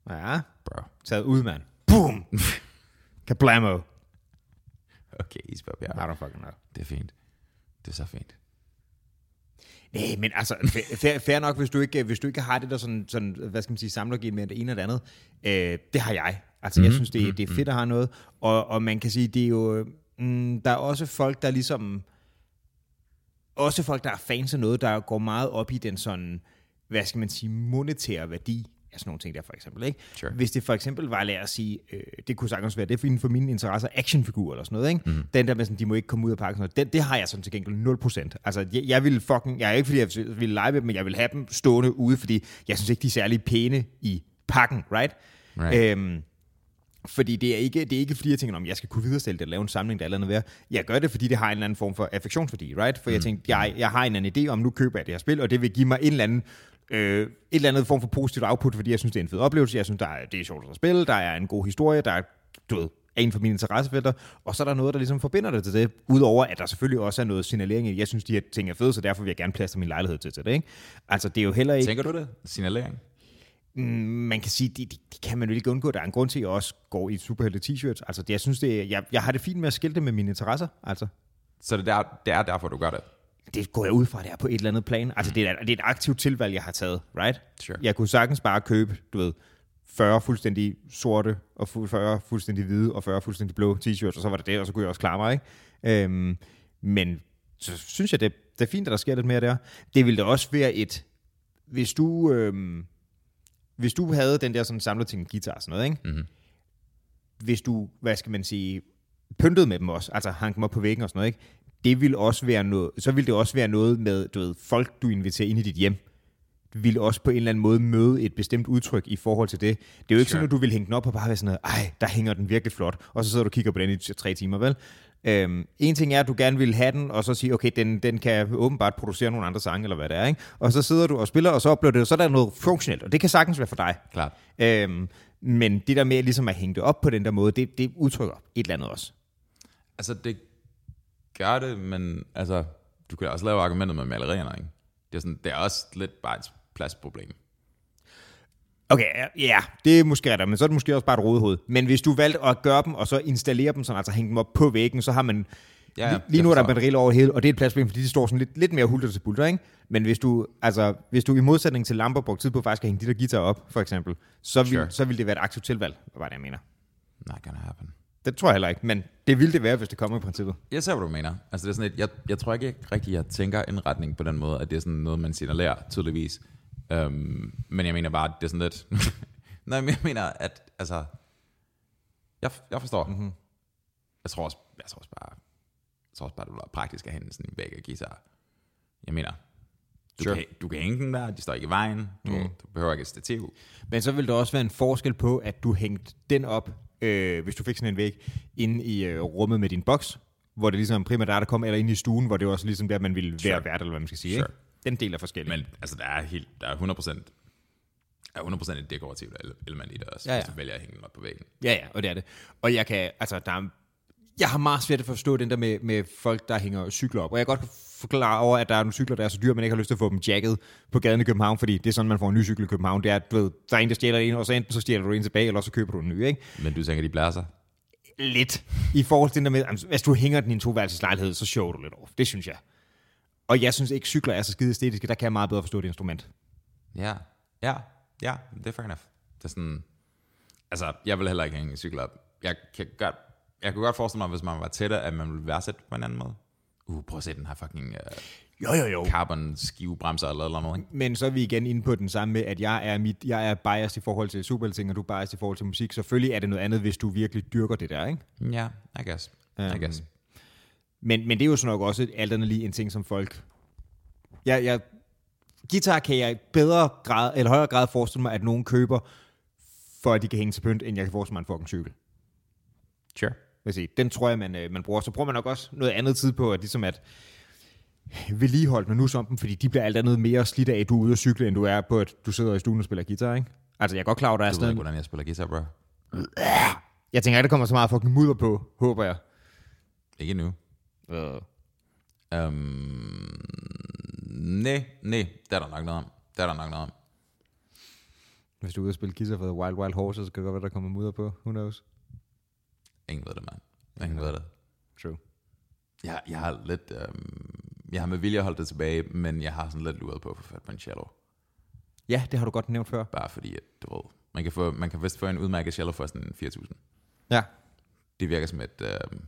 Speaker 2: Ja,
Speaker 1: bro.
Speaker 2: taget ud, mand. Boom! Kablamo!
Speaker 1: Okay, isbop, ja.
Speaker 2: I don't fucking know.
Speaker 1: Det er fint. Det er så fint.
Speaker 2: Nej, men altså, fa- fair, fair nok, hvis du, ikke, øh, hvis du ikke har det der sådan, sådan hvad skal man sige, samlergi med det ene eller det andet. Øh, det har jeg. Altså, mm-hmm. jeg synes, det, er- det er fedt at have noget. Og, og man kan sige, det er jo... Mm, der er også folk, der ligesom... Også folk, der er fans af noget, der går meget op i den sådan, hvad skal man sige, monetære værdi af sådan nogle ting der, for eksempel. Ikke?
Speaker 1: Sure.
Speaker 2: Hvis det for eksempel var, lad os sige, øh, det kunne sagtens være, det er inden for mine interesser, actionfigurer eller sådan noget, ikke?
Speaker 1: Mhm.
Speaker 2: Mm. Den der med sådan, de må ikke komme ud af pakken, sådan noget, den, det har jeg sådan til gengæld 0%. Altså, jeg, jeg vil fucking, jeg er ikke fordi, jeg vil lege med dem, men jeg vil have dem stående ude, fordi jeg synes ikke, de er særlig pæne i pakken, right?
Speaker 1: Right.
Speaker 2: Øhm, fordi det er, ikke, det er ikke fordi, jeg tænker, om jeg skal kunne videresælge det, eller lave en samling, der eller andet værd. Jeg gør det, fordi det har en eller anden form for affektionsværdi, right? For jeg tænkte, jeg, jeg har en eller anden idé om, nu køber jeg det her spil, og det vil give mig en eller anden, øh, et eller andet form for positivt output, fordi jeg synes, det er en fed oplevelse, jeg synes, der er, det er sjovt at spille, der er en god historie, der er, du ved, er inden for mine interessefelter, og så er der noget, der ligesom forbinder det til det, udover at der selvfølgelig også er noget signalering i, det. jeg synes, de her ting er fede, så derfor vil jeg gerne plaster min lejlighed til, til det, ikke? Altså, det er jo heller ikke...
Speaker 1: Tænker du det? Signalering?
Speaker 2: Mm, man kan sige, det, det, det kan man jo ikke undgå. Der er en grund til, at jeg også går i superhelte t-shirts. Altså, det, jeg synes, det, er- jeg, jeg har det fint med at skille det med mine interesser. Altså,
Speaker 1: Så det, der, det er derfor, du gør det?
Speaker 2: det går jeg ud fra, det er på et eller andet plan. Altså, det er, det er et aktivt tilvalg, jeg har taget, right?
Speaker 1: Sure.
Speaker 2: Jeg kunne sagtens bare købe, du ved, 40 fuldstændig sorte, og fu- 40 fuldstændig hvide, og 40 fuldstændig blå t-shirts, og så var det det, og så kunne jeg også klare mig, ikke? Øhm, men så synes jeg, det, det er fint, at der sker lidt mere der. Det ville da også være et... Hvis du... Øhm, hvis du havde den der sådan samlet til en guitar og sådan noget, ikke? Mm-hmm. Hvis du, hvad skal man sige, pyntede med dem også, altså hang dem op på væggen og sådan noget, ikke? Det ville også være noget, så ville det også være noget med, du ved, folk du inviterer ind i dit hjem, ville også på en eller anden måde møde et bestemt udtryk i forhold til det. Det er jo ikke sure.
Speaker 1: Sure.
Speaker 2: sådan, at du vil hænge den op og bare være sådan noget, ej, der hænger den virkelig flot, og så sidder du og kigger på den i t- tre timer, vel? Øhm, en ting er, at du gerne vil have den, og så sige, okay, den, den kan åbenbart producere nogle andre sange, eller hvad det er, ikke? Og så sidder du og spiller, og så oplever det, og så er der noget funktionelt, og det kan sagtens være for dig.
Speaker 1: Klart.
Speaker 2: Øhm, men det der med ligesom at hænge det op på den der måde, det, det udtrykker et eller andet også.
Speaker 1: Altså, det gør det, men altså, du kan også lave argumentet med malerierne, ikke? Det er, sådan, det er også lidt bare et pladsproblem.
Speaker 2: Okay, ja, ja, det er måske rigtigt, men så er det måske også bare et rodehoved. Men hvis du valgte at gøre dem, og så installere dem, sådan, altså hænge dem op på væggen, så har man...
Speaker 1: Ja,
Speaker 2: Ja,
Speaker 1: ja,
Speaker 2: lige, lige nu er
Speaker 1: det
Speaker 2: der
Speaker 1: forstår jeg.
Speaker 2: batterier over hele, og det er et pladsproblem, fordi de står sådan lidt, lidt mere hulter til bulter, ikke? Men hvis du, altså, hvis du i modsætning til lamper brugte tid på faktisk at hænge de der guitar op, for eksempel, så vil,
Speaker 1: Sure.
Speaker 2: så vil det være et aktivt tilvalg, var det, jeg mener.
Speaker 1: Not gonna happen.
Speaker 2: Det tror jeg heller ikke, men det ville det være, hvis det kommer i princippet.
Speaker 1: Jeg ser, hvad du mener. Altså, det er sådan et, jeg, jeg tror ikke jeg rigtig, jeg tænker indretning på den måde, at det er sådan noget, man signalerer tydeligvis. Øhm, men jeg mener bare, at det er sådan lidt... Nej, men jeg mener, at altså... Jeg, jeg forstår. Mm-hmm. Jeg, tror også, jeg tror også bare, jeg tror også bare, det bliver praktisk at hente sådan en væg og guitar. Jeg mener, du,
Speaker 2: Sure.
Speaker 1: sure. kan, du kan hænge den der, de står ikke i vejen, du, mm. du behøver ikke et stativ.
Speaker 2: Men så vil der også være en forskel på, at du hængte den op, øh, hvis du fik sådan en væg, inde i øh, rummet med din boks, hvor det ligesom primært er, der kom, eller inde i stuen, hvor det også ligesom der, man ville være
Speaker 1: Sure.
Speaker 2: vært, eller hvad man skal sige.
Speaker 1: Sure.
Speaker 2: Ikke? Den del er forskellig.
Speaker 1: Men altså, der er, helt, der er 100%, der er 100% et dekorativt ele- element i det også,
Speaker 2: Ja,
Speaker 1: ja,
Speaker 2: ja.
Speaker 1: ja. hvis du vælger at hænge den op på væggen.
Speaker 2: Ja, ja, og det er det. Og jeg kan, altså, der er, jeg har meget svært at forstå den der med, med folk, der hænger cykler op. Og jeg kan godt forklare over, at der er nogle cykler, der er så dyre, at man ikke har lyst til at få dem jacket på gaden i København, fordi det er sådan, man får en ny cykel i København. Det er, at, du ved, der er en, der stjæler en, og så enten så stjæler du en tilbage, eller så køber du en ny, ikke?
Speaker 1: Men du tænker, de blæser?
Speaker 2: lidt i forhold til den der med, altså, hvis du hænger den i en toværelseslejlighed, så shower du lidt over. Det synes jeg. Og jeg synes ikke, cykler er så skide æstetiske. Der kan jeg meget bedre forstå det instrument.
Speaker 1: Ja, ja, ja, det er fair enough. Det er sådan, Altså, jeg vil heller ikke hænge en cykel op. Jeg kan godt, jeg kunne godt forestille mig, hvis man var tættere, at man ville værdsætte på en anden måde. Uh, prøv at se den her fucking uh,
Speaker 2: Jo, jo, jo.
Speaker 1: carbon skivebremser eller eller noget. Ikke?
Speaker 2: Men så er vi igen inde på den samme med, at jeg er, mit, jeg er biased i forhold til superhelting, og du er biased i forhold til musik. Selvfølgelig er det noget andet, hvis du virkelig dyrker det der, ikke?
Speaker 1: Ja, I guess. I
Speaker 2: Øhm,
Speaker 1: guess.
Speaker 2: Men, men det er jo så nok også alt andet lige en ting, som folk... Jeg, jeg, guitar kan jeg i bedre grad, eller højere grad forestille mig, at nogen køber, for at de kan hænge til pynt, end jeg kan forestille mig en fucking cykel.
Speaker 1: Sure.
Speaker 2: Vil sige, den tror jeg, man, øh, man bruger. Så bruger man nok også noget andet tid på, at ligesom at vedligeholde den nu som dem, fordi de bliver alt andet mere slidt af, at du er ude at cykle, end du er på, at du sidder i stuen og spiller guitar, ikke? Altså, jeg er godt klar over, at der er
Speaker 1: Du ved
Speaker 2: sådan
Speaker 1: ikke,
Speaker 2: noget.
Speaker 1: hvordan jeg spiller guitar, bro.
Speaker 2: Jeg tænker, at der kommer så meget fucking mudder på, håber jeg.
Speaker 1: Ikke nu.
Speaker 2: Uh.
Speaker 1: Um, nej, nej, der er der nok noget om. Der er der nok noget om.
Speaker 2: Hvis du er ude og spille guitar for The Wild Wild Horses, så kan det godt være, der kommer mudder på. Who knows?
Speaker 1: Ingen ved det, mand. Ingen ved det.
Speaker 2: True.
Speaker 1: Jeg, jeg har lidt... Øhm, jeg har med vilje holdt det tilbage, men jeg har sådan lidt luret på at få fat på en cello.
Speaker 2: Ja, det har du godt nævnt før.
Speaker 1: Bare fordi, at, du ved, man kan, få, man kan vist få en udmærket cello for sådan 4.000.
Speaker 2: Ja.
Speaker 1: Det virker som et... Øhm,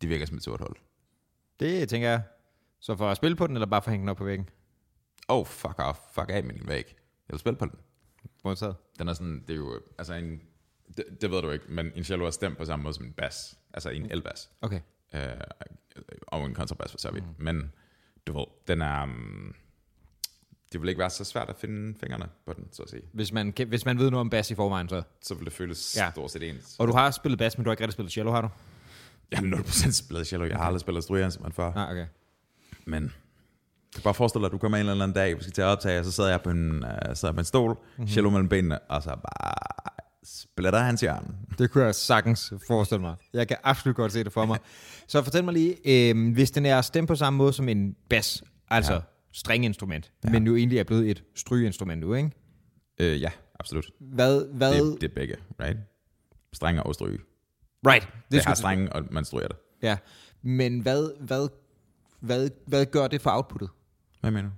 Speaker 1: det virker som et sort hul.
Speaker 2: Det tænker jeg. Så for at spille på den, eller bare for at hænge den op på væggen?
Speaker 1: Oh, fuck off. Fuck af med din væg. Jeg vil spille på den.
Speaker 2: Modtaget.
Speaker 1: Den er sådan... Det er jo... Altså en... Det, det ved du ikke, men en cello er stemt på samme måde som en bas. Altså en elbas.
Speaker 2: Okay.
Speaker 1: øh, og en kontrabas for så vidt. Mm. Men du ved, den er... Um, det vil ikke være så svært at finde fingrene på den, så at sige.
Speaker 2: Hvis man, kan- hvis man ved noget om bas i forvejen, så.
Speaker 1: Så vil det føles
Speaker 2: Ja.
Speaker 1: ja. stort set ens.
Speaker 2: Og du har spillet bas, men du har ikke rigtig spillet cello, har du?
Speaker 1: Jeg er 0% spillet cello. Jeg har aldrig spillet strygeren som man før.
Speaker 2: Nej, okay.
Speaker 1: Men du kan bare forestille dig, at du kommer ind en eller anden dag, vi skal til at optage, og så sidder jeg på en, uh, sidder jeg på en stol, mm-hmm. cello mellem benene, og så bare splitter hans hjørne.
Speaker 2: Det kunne jeg sagtens forestille mig. Jeg kan absolut godt se det for mig. Så fortæl mig lige, øh, hvis den er stemt på samme måde som en bas, altså ja. strenginstrument, ja. men nu egentlig er blevet et strygeinstrument nu, ikke?
Speaker 1: Øh, ja, absolut.
Speaker 2: Hvad, hvad?
Speaker 1: Det, det er begge, right? Strenge og stryge.
Speaker 2: right.
Speaker 1: Det, det
Speaker 2: skulle-
Speaker 1: har strenge, og man stryger det.
Speaker 2: Ja. Men hvad, hvad, hvad, hvad gør det for outputtet?
Speaker 1: Hvad mener du?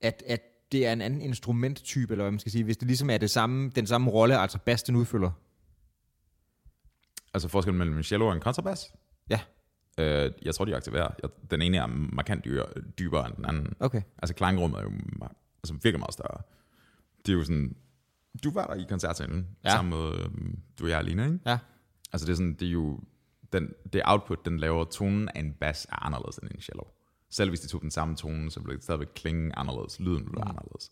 Speaker 2: at, at det er en anden instrumenttype, eller hvad man skal sige, hvis det ligesom er det samme, den samme rolle, altså bas, den udfylder.
Speaker 1: Altså forskellen mellem en cello og en kontrabas?
Speaker 2: Ja,
Speaker 1: Øh, jeg tror, de aktiverer. Jeg, den ene er markant dyrere, dybere end den anden.
Speaker 2: okay.
Speaker 1: Altså klangrummet er jo ma- altså, virkelig meget større. Det er jo sådan... Du var der i koncertsalen,
Speaker 2: Ja.
Speaker 1: ja. sammen med øhm, du og jeg alene, ikke?
Speaker 2: Ja.
Speaker 1: Altså det er sådan, det er jo... Den, det output, den laver tonen af en bass, er anderledes end en cello. Selv hvis de tog den samme tone, så ville det stadigvæk klinge anderledes. Lyden ville være anderledes.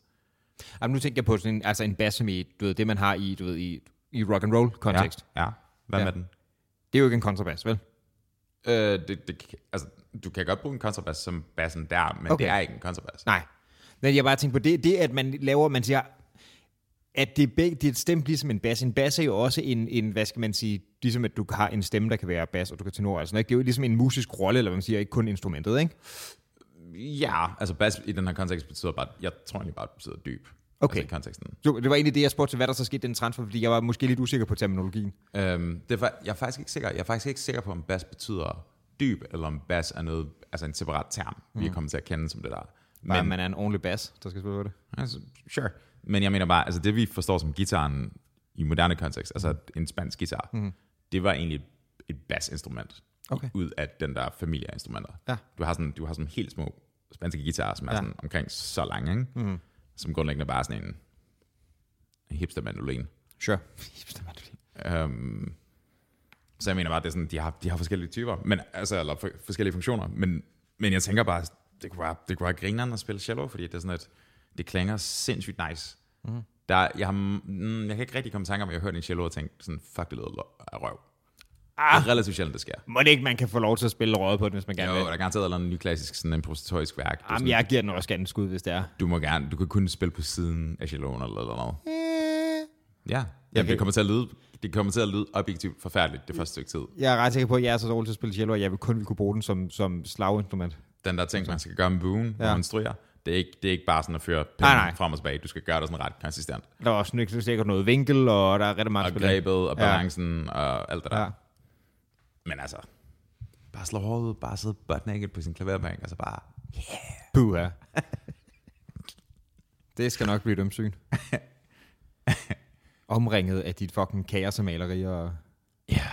Speaker 2: Jamen, nu tænker jeg på sådan en, altså en bas, som i, du ved, det man har i, du ved, i, i rock and roll kontekst. Ja.
Speaker 1: Ja, ja. Hvad
Speaker 2: Ja.
Speaker 1: ja. med den?
Speaker 2: Det er jo ikke en kontrabas, vel?
Speaker 1: Øh, det, det, altså, du kan godt bruge en kontrabas som bassen der, men
Speaker 2: Okay.
Speaker 1: okay. det er ikke en kontrabas.
Speaker 2: Nej. Men jeg bare tænker på det, det at man laver, man siger, at det er, beg, det er et stemt ligesom en bas. En bas er jo også en, en, hvad skal man sige, ligesom at du har en stemme, der kan være bas, og du kan tenor og sådan noget. ikke? Det er jo ligesom en musisk rolle, eller hvad man siger, ikke kun instrumentet, ikke?
Speaker 1: Ja, altså bas i den her kontekst betyder bare, jeg tror egentlig bare, det betyder dyb.
Speaker 2: Okay.
Speaker 1: Altså i konteksten.
Speaker 2: Jo, det var egentlig det, jeg spurgte til, hvad der så skete i den transfer, fordi jeg var måske lidt usikker på terminologien.
Speaker 1: Øhm, det er, fa- jeg er faktisk ikke sikker. Jeg er faktisk ikke sikker på, om bas betyder dyb, eller om bas er noget, altså en separat term, mm. vi er kommet til at kende som det der.
Speaker 2: Mhm. Bare
Speaker 1: Men,
Speaker 2: man er en ordentlig bass, der skal spille på det.
Speaker 1: altså, sure. Men jeg mener bare, altså det vi forstår som gitaren i moderne kontekst, altså en spansk guitar, mm. det var egentlig et basinstrument
Speaker 2: Mhm. Okay.
Speaker 1: ud af den der familie af instrumenter.
Speaker 2: Ja.
Speaker 1: Du har sådan, du har sådan helt små spanske guitarer, som er sådan omkring så lange, ikke?
Speaker 2: Mhm.
Speaker 1: Mm. som grundlæggende bare er sådan en, en hipster mandolin.
Speaker 2: Sure.
Speaker 1: Øhm, så jeg mener bare, det er sådan, de har, de har forskellige typer, men, altså, eller for, forskellige funktioner, men, men jeg tænker bare, det kunne være, det kunne være grineren at spille cello, fordi det er sådan, at det klinger sindssygt nice.
Speaker 2: Mhm.
Speaker 1: Mm. Der, jeg, har, mm, jeg kan ikke rigtig komme i tanke om, at jeg har hørt en cello og tænkt sådan, fuck, det lyder lo- af røv. Ah. Det er relativt sjældent, det sker.
Speaker 2: Må det ikke, man kan få lov til at spille røget på den, hvis man gerne
Speaker 1: Jo,
Speaker 2: vil?
Speaker 1: der er garanteret et eller andet nyklassisk, sådan improvisatorisk værk. Det er
Speaker 2: Jamen,
Speaker 1: sådan,
Speaker 2: jeg giver den også gerne et skud, hvis det er.
Speaker 1: Du må gerne, du kan kun spille på siden af celloen eller eller noget. Ja, Jamen,
Speaker 2: kan-
Speaker 1: det kommer til at lyde, det kommer til at lyde objektivt forfærdeligt det første stykke tid.
Speaker 2: Jeg er ret sikker på, at jeg er så dårlig til at spille cello, at jeg vil kun ville kunne bruge den som, som slaginstrument.
Speaker 1: den der ting, man skal gøre med buen, ja.
Speaker 2: Ja.
Speaker 1: når man stryger, det er, ikke, det er ikke bare sådan at føre pinden
Speaker 2: Nej,
Speaker 1: nej,
Speaker 2: nej.
Speaker 1: nej. frem og tilbage. Du skal gøre det sådan ret konsistent.
Speaker 2: Der er også nø- sikkert noget vinkel, og der er rigtig meget
Speaker 1: Og
Speaker 2: at spille.
Speaker 1: grebet og
Speaker 2: Ja.
Speaker 1: balancen og alt det der.
Speaker 2: Ja.
Speaker 1: Ja. Men altså, bare slå hårdt ud, bare sidde butt naked på sin klaverbænk, og så bare...
Speaker 2: Puh, ja. det skal nok blive et ømsyn. omringet af dit fucking kaos af malerier og
Speaker 1: Ja.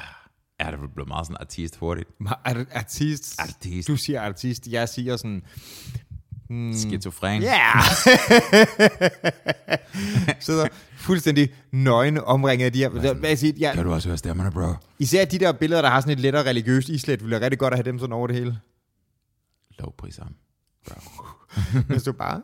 Speaker 1: Er det blevet meget sådan artist hurtigt?
Speaker 2: Ma- ar- artist.
Speaker 1: Artist.
Speaker 2: Du siger artist, jeg siger sådan,
Speaker 1: Mm. Skizofren.
Speaker 2: ja! Yeah! Sidder fuldstændig nøgen omringet af de her. Hvad jeg siger, jeg,
Speaker 1: Kan du også høre stemmerne, bro?
Speaker 2: især de der billeder, der har sådan et lettere religiøst islet, ville jeg rigtig godt at have dem sådan over det hele.
Speaker 1: Low priser.
Speaker 2: Hvis du bare...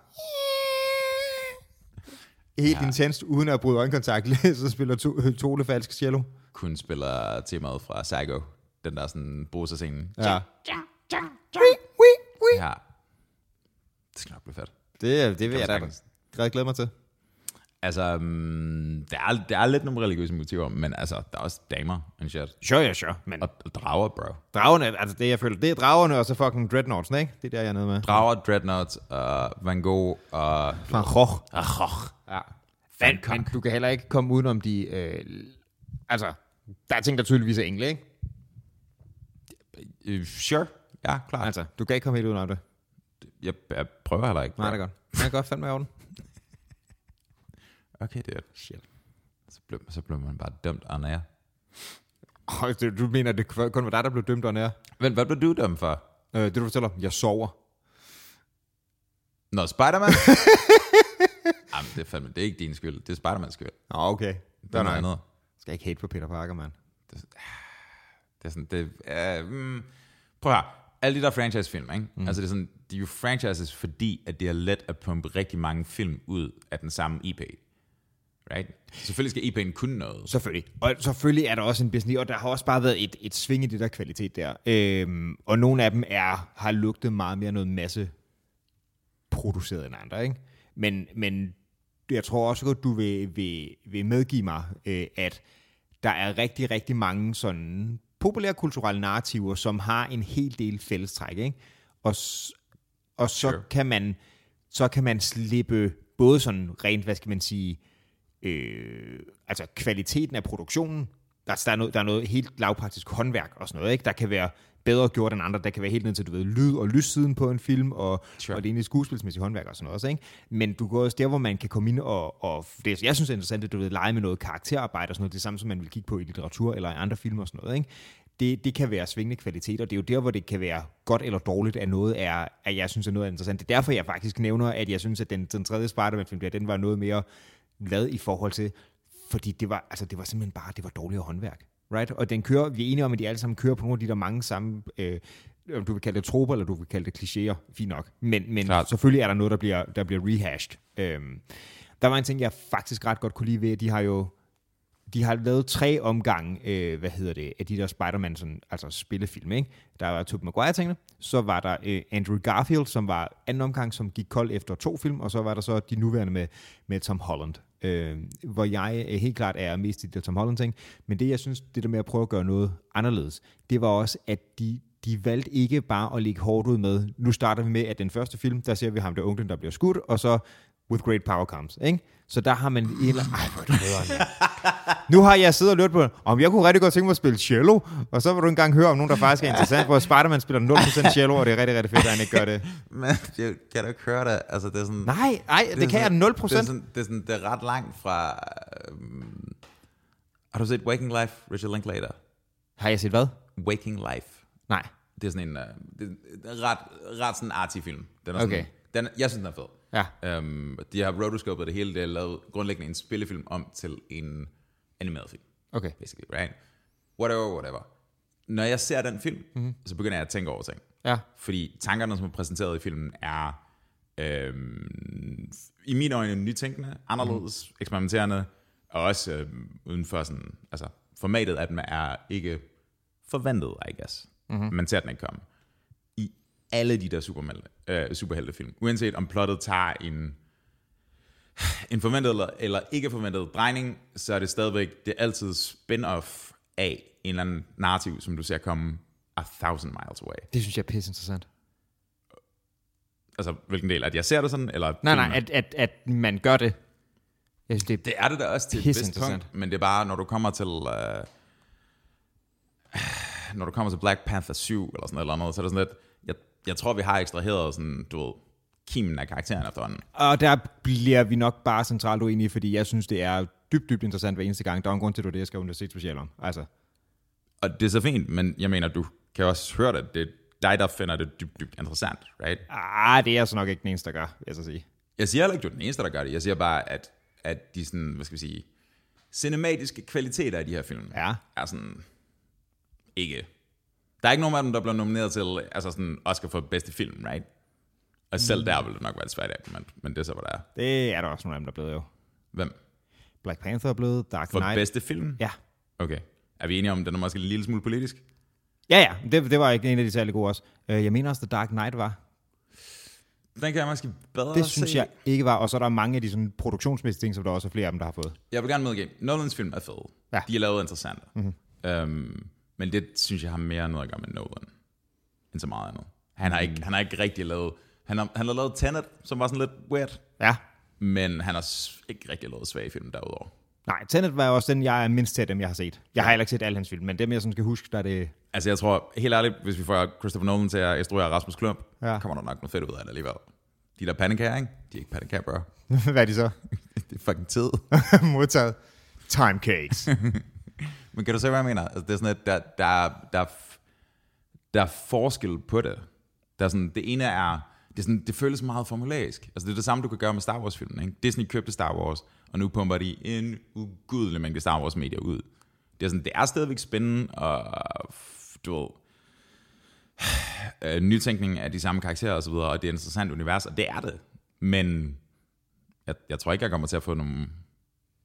Speaker 2: Helt ja. intenst, uden at bryde øjenkontakt, så spiller to, Tole falsk cello.
Speaker 1: Kun spiller temaet fra Psycho. Den der sådan bruserscenen.
Speaker 2: Ja.
Speaker 1: ja. Det skal nok blive fedt.
Speaker 2: Det, det vil jeg da
Speaker 1: sagtens.
Speaker 2: rigtig glæde mig til.
Speaker 1: Altså, um, der, er, der er lidt nogle religiøse motiver, men altså, der er også damer and shit.
Speaker 2: Sure, ja, sure. Men
Speaker 1: Og, og drager, bro.
Speaker 2: dragerne, altså det jeg føler, det er dragerne og så fucking dreadnoughts, ikke? Det er der, jeg er nede med.
Speaker 1: Drager, Dreadnought, uh, Van Gogh og...
Speaker 2: Van Gogh.
Speaker 1: Uh, oh,
Speaker 2: Ja. Men, men du kan heller ikke komme udenom de... Øh, altså, der er ting, der tydeligvis er engle, ikke?
Speaker 1: øh, sure. Ja, klart.
Speaker 2: Altså, du kan ikke komme helt udenom det.
Speaker 1: Jeg, jeg prøver heller ikke.
Speaker 2: Nej, det er godt. Det er godt, fandme i orden.
Speaker 1: Okay, det er
Speaker 2: Shit.
Speaker 1: så blev, så blev man bare dømt og nære.
Speaker 2: Oh, det, du mener, det kun var dig, der blev dømt og nær?
Speaker 1: Men hvad blev du dømt for?
Speaker 2: Øh, det du fortæller, jeg sover.
Speaker 1: Nå, Spider-Man? Jamen, det er, fandme, det er ikke din skyld. Det er Spider-Mans skyld. Det
Speaker 2: Nå, okay.
Speaker 1: er
Speaker 2: Der
Speaker 1: noget
Speaker 2: er
Speaker 1: andet.
Speaker 2: Skal ikke hate på Peter Parker, mand.
Speaker 1: Det er sådan, det, uh, mm, prøv her. Alle de der franchise-film, ikke? Mm. Altså, det er sådan, de er jo franchises, fordi at det er let at pumpe rigtig mange film ud af den samme IP. Right? Selvfølgelig skal IP'en kunne noget.
Speaker 2: Selvfølgelig. Og selvfølgelig er der også en business, og der har også bare været et, et sving i det der kvalitet der. Øhm, og nogle af dem er, har lugtet meget mere noget masse produceret end andre, ikke? Men, men jeg tror også godt, du vil, vil, vil medgive mig, øh, at der er rigtig, rigtig mange sådan populærkulturelle narrativer, som har en hel del fællestræk, ikke? Og, s- og så,
Speaker 1: Sure.
Speaker 2: sure. kan man, så kan man slippe både sådan rent, hvad skal man sige, øh, altså kvaliteten af produktionen, der, der, er noget, der er noget helt lavpraktisk håndværk og sådan noget, ikke? der kan være bedre gjort end andre, der kan være helt ned til, du ved, lyd og lyssiden på en film, og,
Speaker 1: Sure.
Speaker 2: sure. og det egentlig skuespilsmæssige håndværk og sådan noget også, ikke? Men du går også der, hvor man kan komme ind og, og det, jeg synes er interessant, at du ved, lege med noget karakterarbejde og sådan noget, det samme som man vil kigge på i litteratur eller i andre film og sådan noget, ikke? Det, det kan være svingende kvalitet, og det er jo der, hvor det kan være godt eller dårligt, at noget er, at jeg synes, at noget er interessant. Det er derfor, jeg faktisk nævner, at jeg synes, at den, den tredje Spider-Man-film, der, den var noget mere lavet i forhold til, fordi det var, altså, det var simpelthen bare, det var dårligere håndværk. Right? Og den kører, vi er enige om, at de alle sammen kører på nogle af de der mange samme, øh, om du vil kalde det troper, eller du vil kalde det klichéer, fint nok. Men, men
Speaker 1: Klart.
Speaker 2: selvfølgelig er der noget, der bliver, der bliver rehashed. Øhm, der var en ting, jeg faktisk ret godt kunne lide ved, at de har jo de har lavet tre omgange, øh, hvad hedder det, af de der Spider-Man sådan, altså spillefilm, ikke? Der var Tobey Maguire tingene, så var der øh, Andrew Garfield, som var anden omgang, som gik kold efter to film, og så var der så de nuværende med, med Tom Holland, øh, hvor jeg øh, helt klart er mest i de der Tom Holland ting, men det jeg synes, det der med at prøve at gøre noget anderledes, det var også, at de de valgte ikke bare at ligge hårdt ud med, nu starter vi med, at den første film, der ser vi ham der onklen, der bliver skudt, og så with great power comes, ikke? Så der har man... Ej, hvor er det nederen, mand. Nu har jeg siddet og lyttet på, om jeg kunne rigtig godt tænke mig at spille cello, og så vil du engang høre om nogen, der faktisk er interessant, hvor Spider-Man spiller 0% cello, og det er rigtig, rigtig fedt, at han ikke gør det.
Speaker 1: Men jeg kan du ikke høre det? Altså, det er sådan...
Speaker 2: Nej, nej, det, det kan jeg
Speaker 1: sådan-
Speaker 2: 0%.
Speaker 1: Det er, sådan, det, er sådan, det er ret langt fra... Øhm, har du set Waking Life, Richard Linklater?
Speaker 2: Har jeg set hvad?
Speaker 1: Waking Life.
Speaker 2: Nej.
Speaker 1: Det er sådan en øh, det er en ret, ret sådan arty film. Den er
Speaker 2: Okay.
Speaker 1: sådan, den, jeg synes, den er fed.
Speaker 2: Ja.
Speaker 1: Øhm, de har rotoscopet det hele. Det er lavet grundlæggende en spillefilm om til en animeret film.
Speaker 2: Okay.
Speaker 1: Basically, right? Whatever, whatever. Når jeg ser den film, mm-hmm. så begynder jeg at tænke over ting.
Speaker 2: Ja.
Speaker 1: Fordi tankerne, som er præsenteret i filmen, er øhm, i mine øjne nytænkende, anderledes, mm. eksperimenterende, og også øhm, uden for sådan, altså formatet af dem er ikke forventet, I guess. Mm-hmm. Man ser den ikke komme. I alle de der supermel- øh, superheltefilm, uanset om plottet tager en en forventet eller, eller ikke forventet drejning, så er det stadigvæk, det er altid spin-off af en eller anden narrativ, som du ser komme a thousand miles away.
Speaker 2: Det synes jeg er pisse interessant.
Speaker 1: Altså, hvilken del? At jeg ser det sådan? Eller
Speaker 2: Nej,
Speaker 1: filmen?
Speaker 2: nej, at, at, at man gør det. Jeg synes, det er
Speaker 1: Det er det da også til et
Speaker 2: Pisse
Speaker 1: vist punkt,
Speaker 2: interessant.
Speaker 1: men det er bare, når du kommer til... Øh, når du kommer til Black Panther 7 eller sådan noget, eller andet, så er det sådan lidt... Jeg, jeg tror, vi har ekstraheret sådan, du ved, kimen af karakteren efterhånden.
Speaker 2: Og der bliver vi nok bare centralt uenige, fordi jeg synes, det er dybt, dybt interessant hver eneste gang. Der er en grund til, at det var det, jeg skrev universitetsspecial om. Altså,
Speaker 1: Og det er så fint, men jeg mener, du kan også høre det. Det er dig, der finder det dybt, dybt interessant, right?
Speaker 2: ah, det er jeg så nok ikke den eneste, der gør, jeg så sige.
Speaker 1: Jeg siger heller ikke, du er den eneste, der gør det. Jeg siger bare, at, at de sådan, hvad skal vi sige, cinematiske kvaliteter i de her film
Speaker 2: Ja.
Speaker 1: er sådan ikke... Der er ikke nogen af dem, der bliver nomineret til altså sådan Oscar for bedste film, right? Og
Speaker 2: Mm.
Speaker 1: selv der ville det nok være et svært argument, men det er så, hvad der er.
Speaker 2: Det er der også nogle af dem, der er blevet jo.
Speaker 1: Hvem?
Speaker 2: Black Panther er blevet, Dark
Speaker 1: For
Speaker 2: Knight.
Speaker 1: bedste film?
Speaker 2: Ja.
Speaker 1: Okay. Er vi enige om, at den er måske en lille smule politisk?
Speaker 2: Ja, ja, det, det var ikke en af de særlig gode også. Øh, Jeg mener også, at Dark Knight var.
Speaker 1: Den kan jeg måske bedre
Speaker 2: Det
Speaker 1: se.
Speaker 2: synes jeg ikke var. Og så er der mange af de sådan, produktionsmæssige ting, som der også er flere af dem, der har fået.
Speaker 1: Jeg vil gerne medgive, Nolans film er fede.
Speaker 2: Ja.
Speaker 1: De er lavet interessante. Mm-hmm. Øhm, men det synes jeg har mere noget at gøre med Nolan, end så meget andet. Han har ikke, han har ikke rigtig lavet... Han har, han har lavet Tenet, som var sådan lidt weird,
Speaker 2: Ja.
Speaker 1: men han har s- ikke rigtig lavet svage film derudover.
Speaker 2: Nej, Tenet var også den, jeg er mindst til af dem, jeg har set. Jeg har heller ikke set alle hans film, men dem, jeg sådan skal huske, der er det...
Speaker 1: Altså jeg tror, helt ærligt, hvis vi får Christopher Nolan til at instruere Rasmus Klump,
Speaker 2: Ja.
Speaker 1: ja. kommer der nok noget fedt ud af det alligevel. De der pandekager, ikke? De er ikke pandekager, bro.
Speaker 2: Hvad er de så?
Speaker 1: det er fucking tid.
Speaker 2: Modtaget. Time cakes.
Speaker 1: Men kan du se, hvad jeg mener? Altså, det er sådan, at der, der, er- der, er f- der er forskel på det. Der er sådan, det ene er, det, er sådan, det føles meget formulaisk. Altså, det er det samme, du kan gøre med Star Wars-filmen. Ikke? Disney købte Star Wars, og nu pumper de en ugudelig mængde Star Wars-medier ud. Det er, sådan, det er stadigvæk spændende, og f- du ved, øh, nytænkning af de samme karakterer og så videre, og det er et interessant univers, og det er det. Men jeg, jeg tror ikke, jeg kommer til at få nogen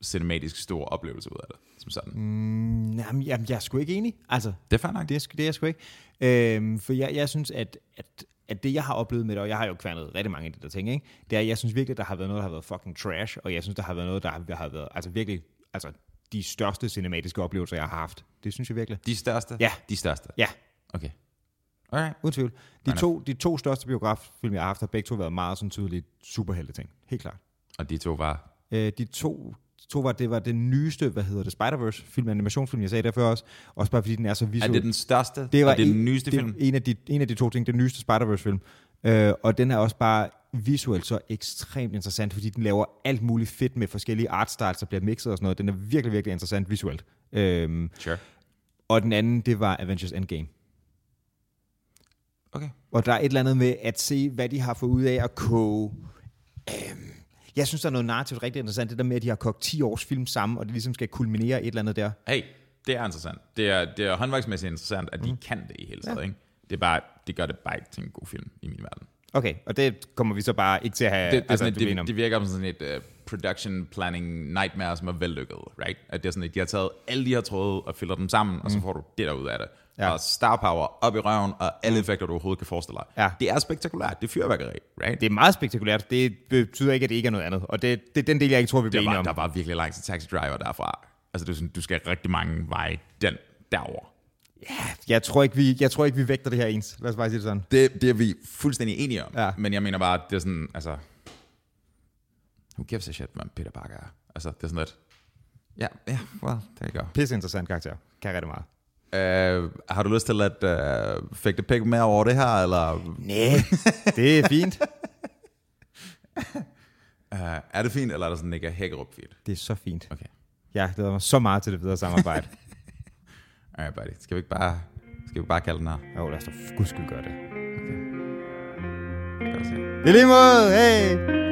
Speaker 1: cinematisk stor oplevelse ud af det, som sådan. Mm.
Speaker 2: jamen, jamen, jeg er sgu ikke enig. Altså,
Speaker 1: Det er fair nok.
Speaker 2: det er, sgu- det er jeg sgu ikke. Øhm, for jeg, jeg synes, at, at, at det, jeg har oplevet med det, og jeg har jo kværnet rigtig mange af de der ting, ikke? det er, at jeg synes virkelig, at der har været noget, der har været fucking trash, og jeg synes, der har været noget, der har, har været altså virkelig altså, de største cinematiske oplevelser, jeg har haft. Det synes jeg virkelig.
Speaker 1: De største?
Speaker 2: Ja.
Speaker 1: De største?
Speaker 2: Ja,
Speaker 1: Okay. Alright.
Speaker 2: uden tvivl. De
Speaker 1: Nej,
Speaker 2: to, de to største biograffilm, jeg har haft, har begge to været meget sådan tydeligt superhelte ting. Helt klart.
Speaker 1: Og de to var...
Speaker 2: Øh, de to, to var, det var den nyeste, hvad hedder det, Spider-Verse film, animationsfilm, jeg sagde derfor også. Også bare fordi den er så
Speaker 1: Er
Speaker 2: visuel.
Speaker 1: det den største?
Speaker 2: Det var
Speaker 1: og det er den
Speaker 2: en-
Speaker 1: nyeste
Speaker 2: det er
Speaker 1: film?
Speaker 2: En af, de, en af de to ting, den nyeste Spider-Verse-film. Øh, og den er også bare visuelt så ekstremt interessant, fordi den laver alt muligt fedt med forskellige artstyles, der bliver mixet og sådan noget. Den er virkelig, virkelig interessant visuelt. Øhm,
Speaker 1: Sure.
Speaker 2: og den anden, det var Avengers Endgame.
Speaker 1: Okay.
Speaker 2: Og der er et eller andet med at se, hvad de har fået ud af at koge... Øhm, jeg synes, der er noget narrativt rigtig interessant, det der med, at de har kogt 10 års film sammen, og det ligesom skal kulminere i et eller andet der.
Speaker 1: Hey, det er interessant. Det er, det er håndværksmæssigt interessant, at de mm. kan det i hele taget, ja. ikke? Det, er bare, det gør det bare ikke til en god film i min verden.
Speaker 2: Okay, og det kommer vi så bare ikke til at have...
Speaker 1: Det, det, altså,
Speaker 2: du
Speaker 1: sådan,
Speaker 2: mener-
Speaker 1: det, det virker som sådan et uh, production planning nightmare, som er vellykket, right? At det er sådan, at de har taget alle de her tråde og filter dem sammen, mm. og så får du det der ud af det.
Speaker 2: Ja. Mm.
Speaker 1: Ja. Og star power op i røven, og alle effekter, du overhovedet kan forestille dig.
Speaker 2: Ja.
Speaker 1: Det er spektakulært. Det er fyrværkeri, right?
Speaker 2: Det er meget spektakulært. Det betyder ikke, at det ikke er noget andet. Og det, det er den del, jeg ikke tror, vi bliver
Speaker 1: der
Speaker 2: enige
Speaker 1: var,
Speaker 2: om.
Speaker 1: der var virkelig langt til Taxi Driver derfra. Altså, du, du skal rigtig mange veje den derover.
Speaker 2: Jeg tror, ikke, vi, jeg tror ikke, vi vægter det her ens. Lad os bare sige det sådan.
Speaker 1: Det, det er vi fuldstændig enige om.
Speaker 2: Ja.
Speaker 1: Men jeg mener bare, at det er sådan, altså... Who gives a shit, hvad Peter Parker er? Altså, det er sådan lidt... Ja, ja, well, there you go.
Speaker 2: Pisse interessant karakter. Kan rigtig meget.
Speaker 1: Uh, har du lyst til at uh, fægte pæk mere over det her, eller
Speaker 2: Nej. det er fint.
Speaker 1: uh, er det fint, eller er det sådan Nick Hækkerup fint?
Speaker 2: Det er så fint.
Speaker 1: Okay.
Speaker 2: Jeg glæder mig så meget til det videre samarbejde.
Speaker 1: Alright, buddy. Skal vi ikke bare, skal vi bare kalde den her?
Speaker 2: Jo, lad os da for guds skyld gøre det.
Speaker 1: Godt at se.
Speaker 2: Det er lige måde. Hey.